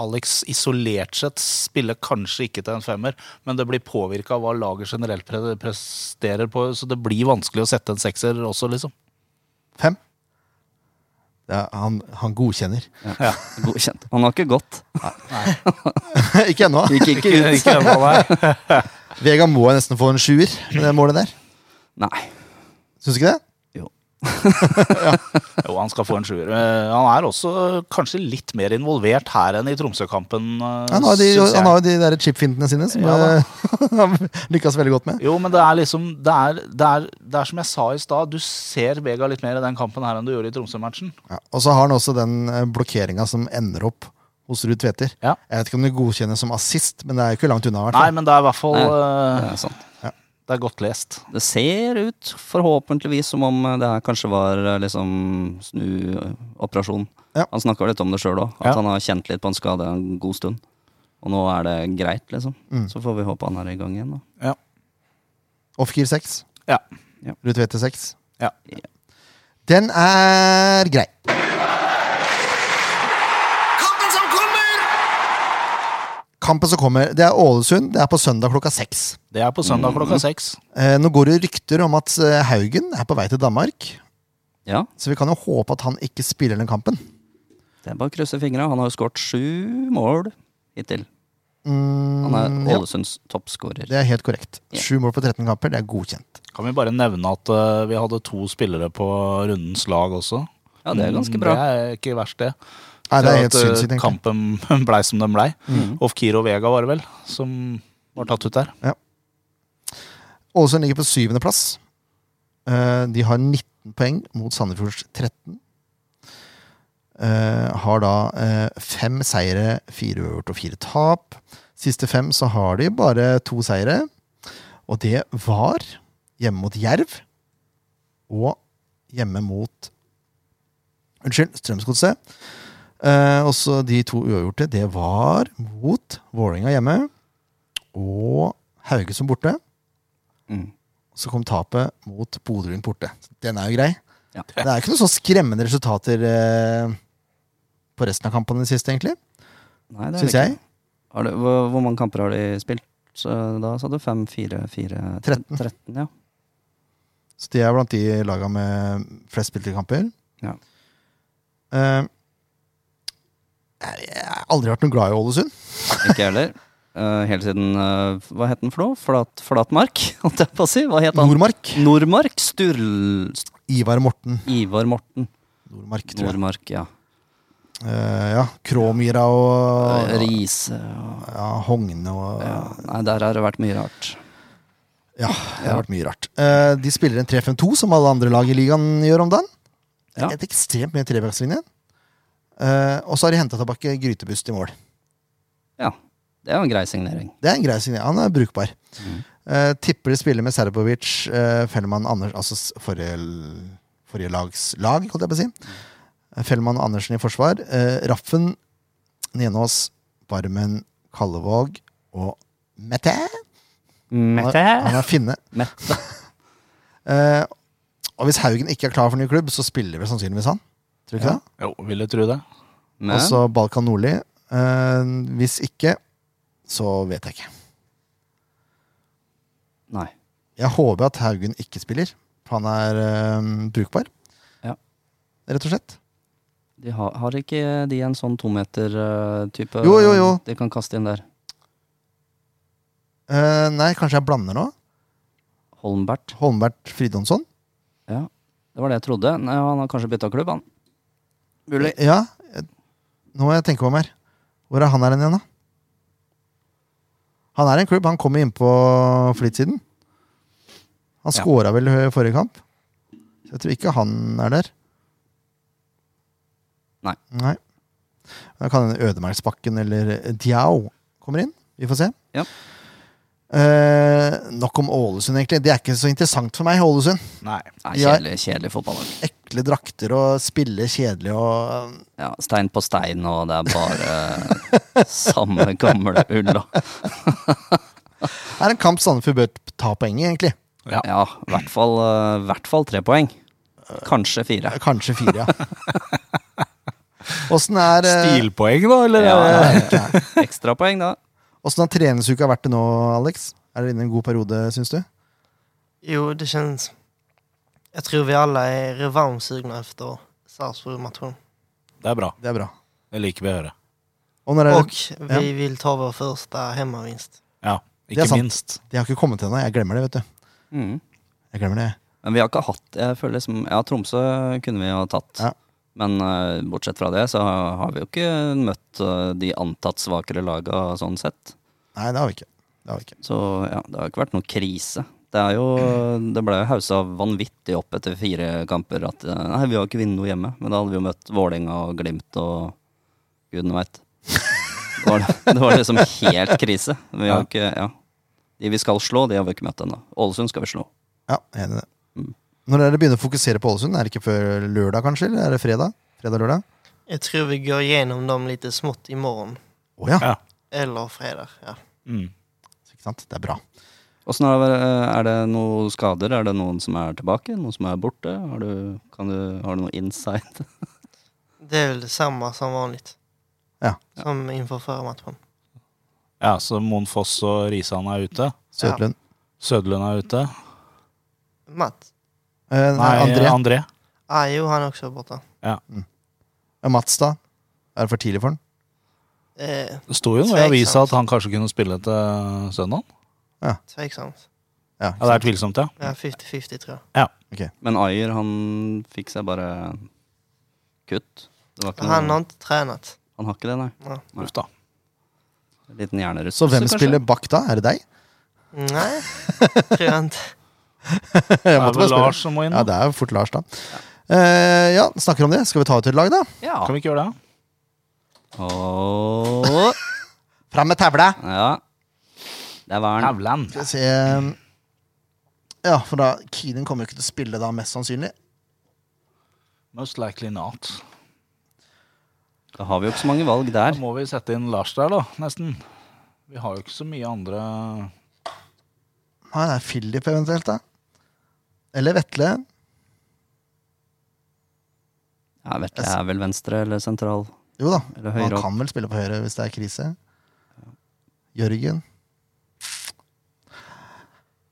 Speaker 3: Alex isolert sett spiller kanskje ikke til en femmer, men det blir påvirka av hva laget generelt pre presterer på, så det blir vanskelig å sette en sekser også, liksom.
Speaker 1: Fem. Ja, han, han godkjenner.
Speaker 2: Ja. Godkjent. Han har ikke gått.
Speaker 1: ikke ennå.
Speaker 2: Gikk ikke ut.
Speaker 3: Ikke ennå, nei.
Speaker 1: Vega må jeg nesten få en sjuer med det målet der.
Speaker 2: Nei.
Speaker 1: Syns du ikke det?
Speaker 3: Jo, han skal få en sjuer. Eh, Han er også kanskje litt mer involvert her enn i Tromsø-kampen, eh,
Speaker 1: Han har jo de,
Speaker 3: synes jeg.
Speaker 1: han har jo de der chipfintene sine som
Speaker 3: Ja da.
Speaker 1: eh, han lykkes veldig godt med.
Speaker 3: Jo, men det er liksom Det er, det er, det er som jeg sa i stad, du ser Vega litt mer i den kampen her enn du gjorde i Tromsø-matchen.
Speaker 1: Ja, og så har han også den blokkeringa som ender opp hos Ruud Tveter.
Speaker 3: Ja.
Speaker 1: Jeg vet ikke om det godkjennes som assist, men det er jo ikke langt unna. i hvert
Speaker 3: Nei,
Speaker 1: fall.
Speaker 3: men det er i hvert fall
Speaker 2: Nei, Det
Speaker 3: eh,
Speaker 2: er sant.
Speaker 3: Det er godt lest.
Speaker 2: Det ser ut, forhåpentligvis, som om det her kanskje var eh, liksom snuoperasjon.
Speaker 1: Ja.
Speaker 2: Han snakka litt om det sjøl òg, at
Speaker 3: Ja.
Speaker 2: han har kjent litt på en skade en god stund. Og nå er det greit, liksom. Så får vi håpe han er i gang igjen, da.
Speaker 1: Off-gear 6.
Speaker 3: Ja.
Speaker 1: Ruud Tveter 6.
Speaker 3: Ja.
Speaker 1: Den er grei.
Speaker 5: Kampen som kommer!
Speaker 1: Kampen som kommer, det er Ålesund. Det er på søndag klokka seks.
Speaker 3: Det er på søndag klokka seks.
Speaker 1: Eh, nå går det rykter om at eh, Haugen er på vei til Danmark.
Speaker 2: Ja,
Speaker 1: Så vi kan jo håpe at han ikke spiller den kampen.
Speaker 2: det er bare å krysse fingra. Han har jo skåret sju mål hittil.
Speaker 1: Mm,
Speaker 2: Han er
Speaker 1: ja,
Speaker 2: Ålesunds toppskårer.
Speaker 1: det er helt korrekt.
Speaker 2: Ja.
Speaker 1: Sju mål på 13 kamper, det er godkjent.
Speaker 3: Kan vi bare nevne at eh, vi hadde to spillere på rundens lag også? Mm,
Speaker 2: Ja, det er ganske bra.
Speaker 3: Det er ikke verst, det.
Speaker 1: Nei, det
Speaker 3: For
Speaker 1: er helt
Speaker 3: at, eh,
Speaker 1: sinnssykt, egentlig.
Speaker 3: Kampen blei som den blei.
Speaker 2: Mm.
Speaker 3: Ofkir og Vega var det vel, som var tatt ut der.
Speaker 1: Ålesund ligger på syvendeplass. Eh, de har 19 poeng mot Sandefjords 13. Eh, har da eh, fem seire, fire uavgjort og fire tap. Siste fem så har de bare to seire. Og det var hjemme mot Jerv og hjemme mot Unnskyld, Strømsgodset. Eh, også de to uavgjorte. Det var mot Vålerenga hjemme og Haugesund borte.
Speaker 2: Mm.
Speaker 1: Så kom tapet mot Bodø Glimt borte. Den er jo grei.
Speaker 2: Ja.
Speaker 1: Det er ikke noen så skremmende resultater eh, på resten av kampene i det siste, egentlig.
Speaker 2: Nei, det er det
Speaker 1: Syns
Speaker 2: ikke.
Speaker 1: jeg.
Speaker 2: Har du, hvor, hvor mange kamper har de spilt? Så da sa du fem, fire, fire
Speaker 1: Tretten.
Speaker 2: 13 ja.
Speaker 1: Så de er blant de laga med flest spilte kamper.
Speaker 2: Ja.
Speaker 1: Eh, jeg jeg har aldri vært noe glad i Ålesund.
Speaker 2: Ikke jeg heller. Eh, helt siden eh, Hva het den for noe? Flat, flatmark, holdt jeg på å si. Hva het han?
Speaker 1: Nordmark.
Speaker 2: Nordmark? Sturl... St-
Speaker 1: Ivar Morten.
Speaker 2: Ivar Morten.
Speaker 1: Nordmark, tror jeg.
Speaker 2: Nordmark, ja.
Speaker 1: Eh, ja. Kråmyra og
Speaker 2: Eh, Riise og
Speaker 1: ja, Hogne og
Speaker 2: ja. Nei, der har det vært mye rart.
Speaker 1: Ja, det har vært mye rart. Eh, de spiller en 3-5-2, som alle andre lag i ligaen gjør om dagen.
Speaker 2: Ja.
Speaker 1: Et ekstremt mye trebackslinje. Eh, og så har de henta tilbake Grytebust i mål.
Speaker 2: Ja. Det er jo en grei signering.
Speaker 1: Det er en grei signering. Han er brukbar. Eh, tipper de spiller med Serbovic, eh, Fellmann Anders Altså s- forrige, l- forrige lags lag, holdt jeg på å si. Eh, Fellmann og Andersen i forsvar. Eh, Raffen, Nenås, Barmen, Kallevåg og Mette. Han er, han er finne.
Speaker 2: Mette.
Speaker 1: Eh, og hvis Haugen ikke er klar for ny klubb, så spiller vel sannsynligvis han. Tror du ikke det?
Speaker 3: Jo, vil du tro det?
Speaker 2: Men
Speaker 1: Og så Balkan Nordli. Eh, hvis ikke, så vet jeg ikke.
Speaker 2: Nei.
Speaker 1: Jeg håper at Haugen ikke spiller, for han er eh, brukbar.
Speaker 2: Ja.
Speaker 1: Rett og slett.
Speaker 2: De har, har ikke de en sånn tometer-type
Speaker 1: Jo, jo, jo.
Speaker 2: de kan kaste inn der?
Speaker 1: Eh, nei, kanskje jeg blander nå.
Speaker 2: Holmbert.
Speaker 1: Holmbert Fridtjonsson.
Speaker 2: Ja. Det var det jeg trodde. Nei, han har kanskje bytta klubb, han. Mulig.
Speaker 1: Ja. eh, Nå må jeg tenke meg om her. Hvor er han her igjen, da? Han er en klubb. Han kommer innpå flytsiden. Han
Speaker 2: Ja.
Speaker 1: skåra vel i forrige kamp. Så jeg tror ikke han er der.
Speaker 2: Nei.
Speaker 1: Nei. Da kan hende Ødemarksbakken eller Diao kommer inn. Vi får se.
Speaker 2: Ja.
Speaker 1: Eh, nok om Ålesund, egentlig. Det er ikke så interessant for meg. Ålesund.
Speaker 3: Nei.
Speaker 2: Nei,
Speaker 1: Ja.
Speaker 2: kjedelig, kjedelig fotballag.
Speaker 1: Ekle drakter og spille kjedelig og
Speaker 2: Ja, stein på stein, og det er bare eh, samme gamle ull. da.
Speaker 1: Det er en kamp Sandefjord bør ta poeng i, egentlig.
Speaker 2: Ja, i hvert fall, eh, hvert fall tre poeng.
Speaker 1: Eh,
Speaker 2: Kanskje fire.
Speaker 1: Kanskje fire, ja. Åssen er eh,
Speaker 3: Stilpoeng, da? Eller?
Speaker 2: Ja,
Speaker 1: ja, ja, ja.
Speaker 2: Ekstrapoeng, da.
Speaker 1: Åssen har treningsuka vært det nå, Alex? Er dere inne i en god periode, syns du?
Speaker 4: Jo, det känns... Jag tror vi alla är revanschsugna efter Sarpsborg-matchen.
Speaker 3: Det er bra.
Speaker 1: Det er bra.
Speaker 3: Det liker vi å høre.
Speaker 1: Og når er
Speaker 4: Och
Speaker 1: det, Ja.
Speaker 4: vi vill ta vår första hemmavinst.
Speaker 3: Ja,
Speaker 1: Det er
Speaker 3: ikke
Speaker 1: sant.
Speaker 3: minst.
Speaker 1: det har ikke kommet ennå. Jeg glemmer det, vet du.
Speaker 2: Mm.
Speaker 1: Jeg glemmer det.
Speaker 2: Men vi har ikke hatt Jeg føler liksom Ja, Tromsø kunne vi jo ha tatt.
Speaker 1: Ja.
Speaker 2: Men eh, bortsett fra det, så har vi jo ikke møtt eh, de antatt svakere laga sånn sett.
Speaker 1: Nei, det har vi ikke. Det har vi ikke.
Speaker 2: Så ja, det har ikke vært noen krise. Det er jo Det ble jo haussa vanvittig opp etter fire kamper at eh, Nei, vi har ikke vunnet noe hjemme. Men da hadde vi jo møtt Vålerenga og Glimt og gudene veit. Det var, det var liksom helt krise. Vi har ikke Ja. De vi skal slå, de har vi ikke møtt ennå. Ålesund skal vi slå.
Speaker 1: Ja, jeg er enig i det.
Speaker 2: Mm.
Speaker 1: Når dere begynner å fokusere på Ålesund, er det ikke før lørdag, kanskje? Eller er det fredag? Fredag-lørdag?
Speaker 4: Jag tror vi går igenom dem lite smått imorgon.
Speaker 1: Å ja.
Speaker 3: Ja.
Speaker 4: Eller fredag, ja.
Speaker 3: Mm.
Speaker 1: Ikke sant? Det er bra.
Speaker 2: Åssen er det, eh, er det noen skader? Er det noen som er tilbake? Noen som er borte? Har du, kan du, har du noe insight?
Speaker 4: Det är väl samma som vanligt.
Speaker 1: Ja.
Speaker 4: Som inför förra matchen.
Speaker 3: ja, så Mon Foss og Risan er ute.
Speaker 1: Sødlund.
Speaker 3: Sødlund er ute.
Speaker 4: Matt?
Speaker 1: Eh,
Speaker 3: Nei,
Speaker 1: André.
Speaker 3: André. André.
Speaker 4: Ah, jo, han är också borta.
Speaker 1: Eh, Mats, da? Er det for tidlig for han?
Speaker 4: Eh,
Speaker 3: Det sto jo noe i
Speaker 1: altså.
Speaker 3: avisa at han kanskje kunne spille til søndag.
Speaker 4: tveksamt.
Speaker 1: Ja,
Speaker 3: Ja, det er tvilsomt, ja.
Speaker 4: Ja, 50-50 tror jag.
Speaker 2: Men Ayer, han fikk seg bare kutt. Det var ikke
Speaker 4: Han har
Speaker 2: noe,
Speaker 4: inte tränat.
Speaker 2: han har ikke det, nei.
Speaker 4: Ja.
Speaker 3: Uff da.
Speaker 2: Liten hjernerust.
Speaker 1: Så hvem
Speaker 2: kanskje?
Speaker 1: spiller bak da? Er det deg?
Speaker 4: Nej, tror jag inte.
Speaker 3: Det
Speaker 1: Jeg
Speaker 3: er
Speaker 1: måtte
Speaker 3: vel
Speaker 1: bare spørre.
Speaker 3: Lars som må inn.
Speaker 1: Ja,
Speaker 3: da.
Speaker 1: det er jo fort Lars, da. Eh, ja, snakker om det. Skal vi ta ut et lag, da?
Speaker 2: Ja.
Speaker 3: Kan vi ikke gjøre det?
Speaker 2: Ååå.
Speaker 1: Fram med tavla!
Speaker 2: Ja. Der var han.
Speaker 3: Havland.
Speaker 1: Skal vi se Ja, for da Keenan kommer jo ikke til å spille da, mest sannsynlig.
Speaker 3: Most likely not.
Speaker 2: Da har vi jo ikke så mange valg
Speaker 3: Da
Speaker 2: der.
Speaker 3: må vi sette inn Lars der, da. Nesten. Vi har jo ikke så mye andre
Speaker 1: Nei, det er Philip eventuelt, da. Eller Vetle.
Speaker 2: Ja, vet jeg er vel venstre eller sentral.
Speaker 1: Jo da,
Speaker 2: Eller høyre
Speaker 1: han
Speaker 2: opp.
Speaker 1: kan vel spille på høyre hvis det er krise. Jørgen.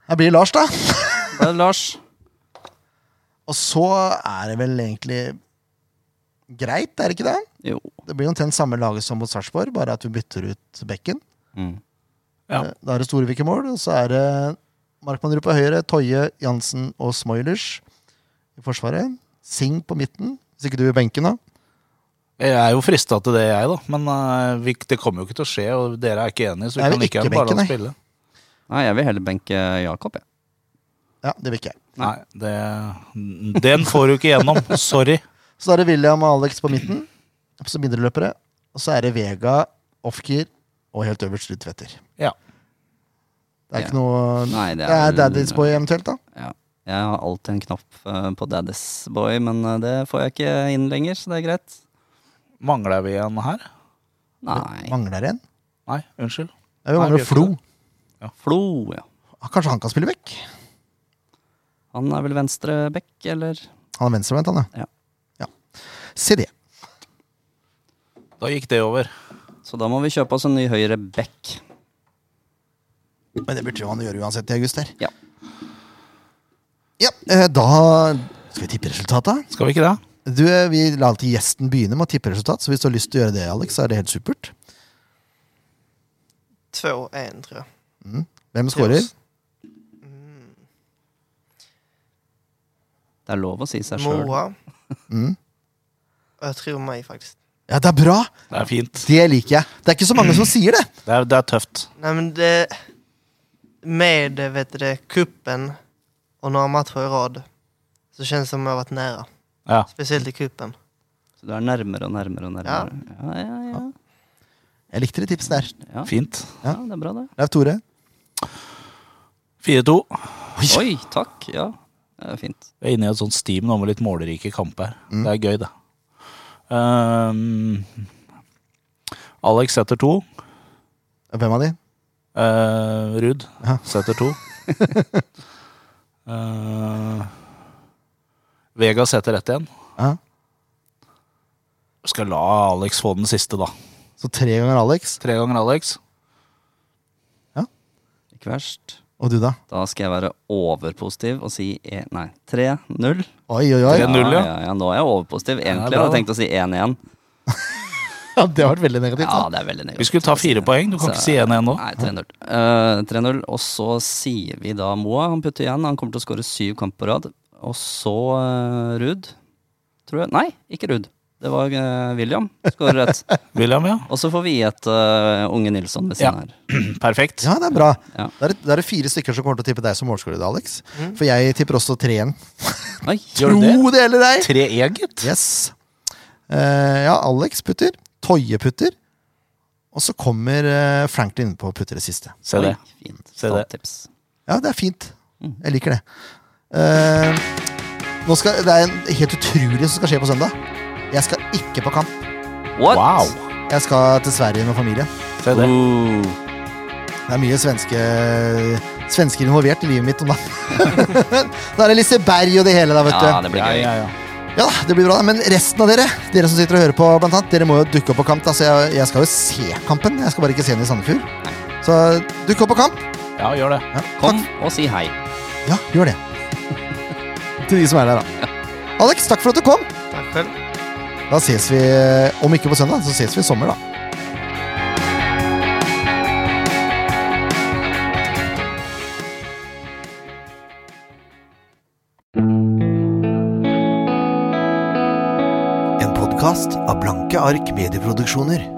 Speaker 1: Det blir Lars, da.
Speaker 2: Det er Lars.
Speaker 1: Og så er det vel egentlig greit, er det ikke det?
Speaker 2: Jo.
Speaker 1: Det blir omtrent samme laget som mot Sarpsborg, bare at vi bytter ut bekken.
Speaker 2: Mm.
Speaker 3: Ja.
Speaker 1: Eh, Da er det Storevik i mål, og så er det Markmannrud på høyre, Toje, Jansen og Smoilers i forsvaret. Singh på midten, hvis ikke du vil benken, da.
Speaker 3: Jeg er jo frista til det, jeg, da. Men eh, vi, det kommer jo ikke til å skje, og dere er ikke enige, så vi
Speaker 1: Nei, vi
Speaker 3: kan ikke
Speaker 1: ikke
Speaker 3: bare la
Speaker 1: benke,
Speaker 3: det spille.
Speaker 2: Nei, jeg vil heller benke Jakob, jeg.
Speaker 1: Ja, det vil ikke jeg.
Speaker 3: Nei, det, den får du ikke gjennom. Sorry.
Speaker 1: Så da er det William og Alex på midten, som indreløpere. Og så er det Vega, Ofkir og helt øverst Ruud Tveter.
Speaker 3: Ja.
Speaker 1: Det er ikke
Speaker 2: Ja.
Speaker 1: noe
Speaker 2: Nei,
Speaker 1: Det
Speaker 2: det er
Speaker 1: er
Speaker 2: vel-
Speaker 1: Daddy's Boy eventuelt, da.
Speaker 2: Ja. Jeg har alltid en knapp eh, på Daddy's Boy, men eh, det får jeg ikke inn lenger, så det er greit.
Speaker 3: Mangler vi en her?
Speaker 2: Nei.
Speaker 1: Mangler en.
Speaker 3: Nei, unnskyld.
Speaker 1: Ja, vi
Speaker 3: Nei, vi
Speaker 1: mangler
Speaker 3: gjør
Speaker 1: Flo.
Speaker 3: ikke
Speaker 2: Flo, ja.
Speaker 1: Ah, Kanskje han kan spille vekk?
Speaker 2: Han er vel venstre bekk, eller?
Speaker 1: Han er venstrebeint, han,
Speaker 2: Ja.
Speaker 1: ja. Se det.
Speaker 3: Da gikk det over.
Speaker 2: Så da må vi kjøpe oss en ny høyre bekk.
Speaker 1: Men det burde jo han gjøre uansett i august der.
Speaker 2: Ja.
Speaker 1: Ja, eh, da skal vi tippe resultatet.
Speaker 3: Skal vi ikke det?
Speaker 1: Du, eh, vi lar alltid gjesten begynne med å tippe resultat, så hvis du har lyst til å gjøre det, Alex, så er det helt supert.
Speaker 4: 2-1 tror jag.
Speaker 1: Hvem skårer?
Speaker 2: Det er lov å si seg sjøl.
Speaker 4: Moa.
Speaker 1: Mm.
Speaker 4: Och jag tror mig faktiskt.
Speaker 1: Ja, det er bra!
Speaker 3: Det er fint.
Speaker 1: Det liker jeg. Det er ikke så mange som sier det.
Speaker 3: Det er, det er tøft.
Speaker 4: Nej men det... Med vet du det, kuppen och några matcher i rad så känns det som jag har varit nära.
Speaker 3: Ja.
Speaker 4: Speciellt i kuppen.
Speaker 2: Så Du er nærmere og nærmere og nærmere. Ja, ja, ja.
Speaker 1: Jeg likte de tipsene der.
Speaker 2: ja. ja.
Speaker 3: Fint.
Speaker 2: det er bra, det.
Speaker 1: Leif Tore.
Speaker 3: 4-2.
Speaker 2: Oi, takk. Ja, det er fint.
Speaker 3: Vi er inne i et sånt steam nå med litt målerike kamper. Det er gøy, det. Ehm, Alex setter to.
Speaker 1: Hvem av de?
Speaker 3: Eh, Ruud
Speaker 1: Ja.
Speaker 3: setter to. Eh, Vega setter ett igjen.
Speaker 1: Ja.
Speaker 3: Skal la Alex få den siste, da.
Speaker 1: Så tre ganger Alex.
Speaker 3: Tre ganger Alex.
Speaker 2: Ikke verst.
Speaker 1: Og du, da?
Speaker 2: Da skal jeg være overpositiv og si e nei, 3-0.
Speaker 1: Oi, oi, oi.
Speaker 3: Tre- 1-0, ja.
Speaker 2: ja, ja. Nå er jeg overpositiv.
Speaker 3: Ja,
Speaker 2: Egentlig hadde
Speaker 3: bra,
Speaker 2: jeg
Speaker 3: da.
Speaker 2: tenkt å si 1-1.
Speaker 1: Ja, det har vært veldig negativt.
Speaker 2: Ja,
Speaker 1: da.
Speaker 2: det er veldig negativt.
Speaker 3: Vi skulle ta fire poeng. Du kan ikke si 1-1 nå.
Speaker 2: Nei, 3-0. Eh, 3-0. Og så sier vi da Moa. Han putter igjen. Han kommer til å skåre syv kamper på rad. Og så uh, Ruud, tror jeg. Nei, ikke Ruud. Det var eh, William. Skårer rett.
Speaker 3: William, ja.
Speaker 2: Og så får vi et eh, unge Nilsson ved siden
Speaker 3: Ja.
Speaker 2: her.
Speaker 3: Perfekt.
Speaker 1: Ja, det er bra.
Speaker 2: Ja.
Speaker 1: Da er det, da er det fire stykker som kommer til å tippe deg som målskårer, da, Alex. For jeg tipper også tre igjen.
Speaker 2: Oi,
Speaker 3: Mhm. Gjør du det?
Speaker 1: Tro det eller ei!
Speaker 3: Tre E, gitt.
Speaker 1: Yes. Eh, ja, Alex putter. Toje putter. Og så kommer eh, Franklin innpå og putter det siste.
Speaker 3: Se det.
Speaker 2: Oi, fint.
Speaker 3: Se det.
Speaker 2: Statips.
Speaker 1: Ja, det er fint. Jeg liker det. Eh, nå skal, det er en helt utrolig som skal skje på søndag. Jeg skal ikke på kamp.
Speaker 2: What?
Speaker 3: Wow.
Speaker 1: Jeg skal til Sverige med familien.
Speaker 3: Se det.
Speaker 2: Ooh.
Speaker 1: Det er mye svenske svensker involvert i livet mitt om dagen. da er det Liseberg og det hele, da, vet
Speaker 2: Ja,
Speaker 1: du.
Speaker 2: det blir
Speaker 3: Ja,
Speaker 2: gøy.
Speaker 3: ja, ja.
Speaker 1: Ja, da, det blir bra, da. Men resten av dere, dere som sitter og hører på, blant annet, dere må jo dukke opp på kamp. Da. Så jeg, jeg skal jo se kampen. Jeg skal bare ikke se den i Sandefjord. Så dukk opp på kamp.
Speaker 3: ja, gjør det.
Speaker 1: Ja,
Speaker 2: Kom
Speaker 1: takk.
Speaker 2: og si hei.
Speaker 1: Ja, gjør det. Til de som er der, da. Alex, takk for at du kom.
Speaker 4: Tack själv.
Speaker 1: Da ses vi, om ikke på søndag, så ses vi i sommer, da.
Speaker 6: En podkast av Blanke ark medieproduksjoner.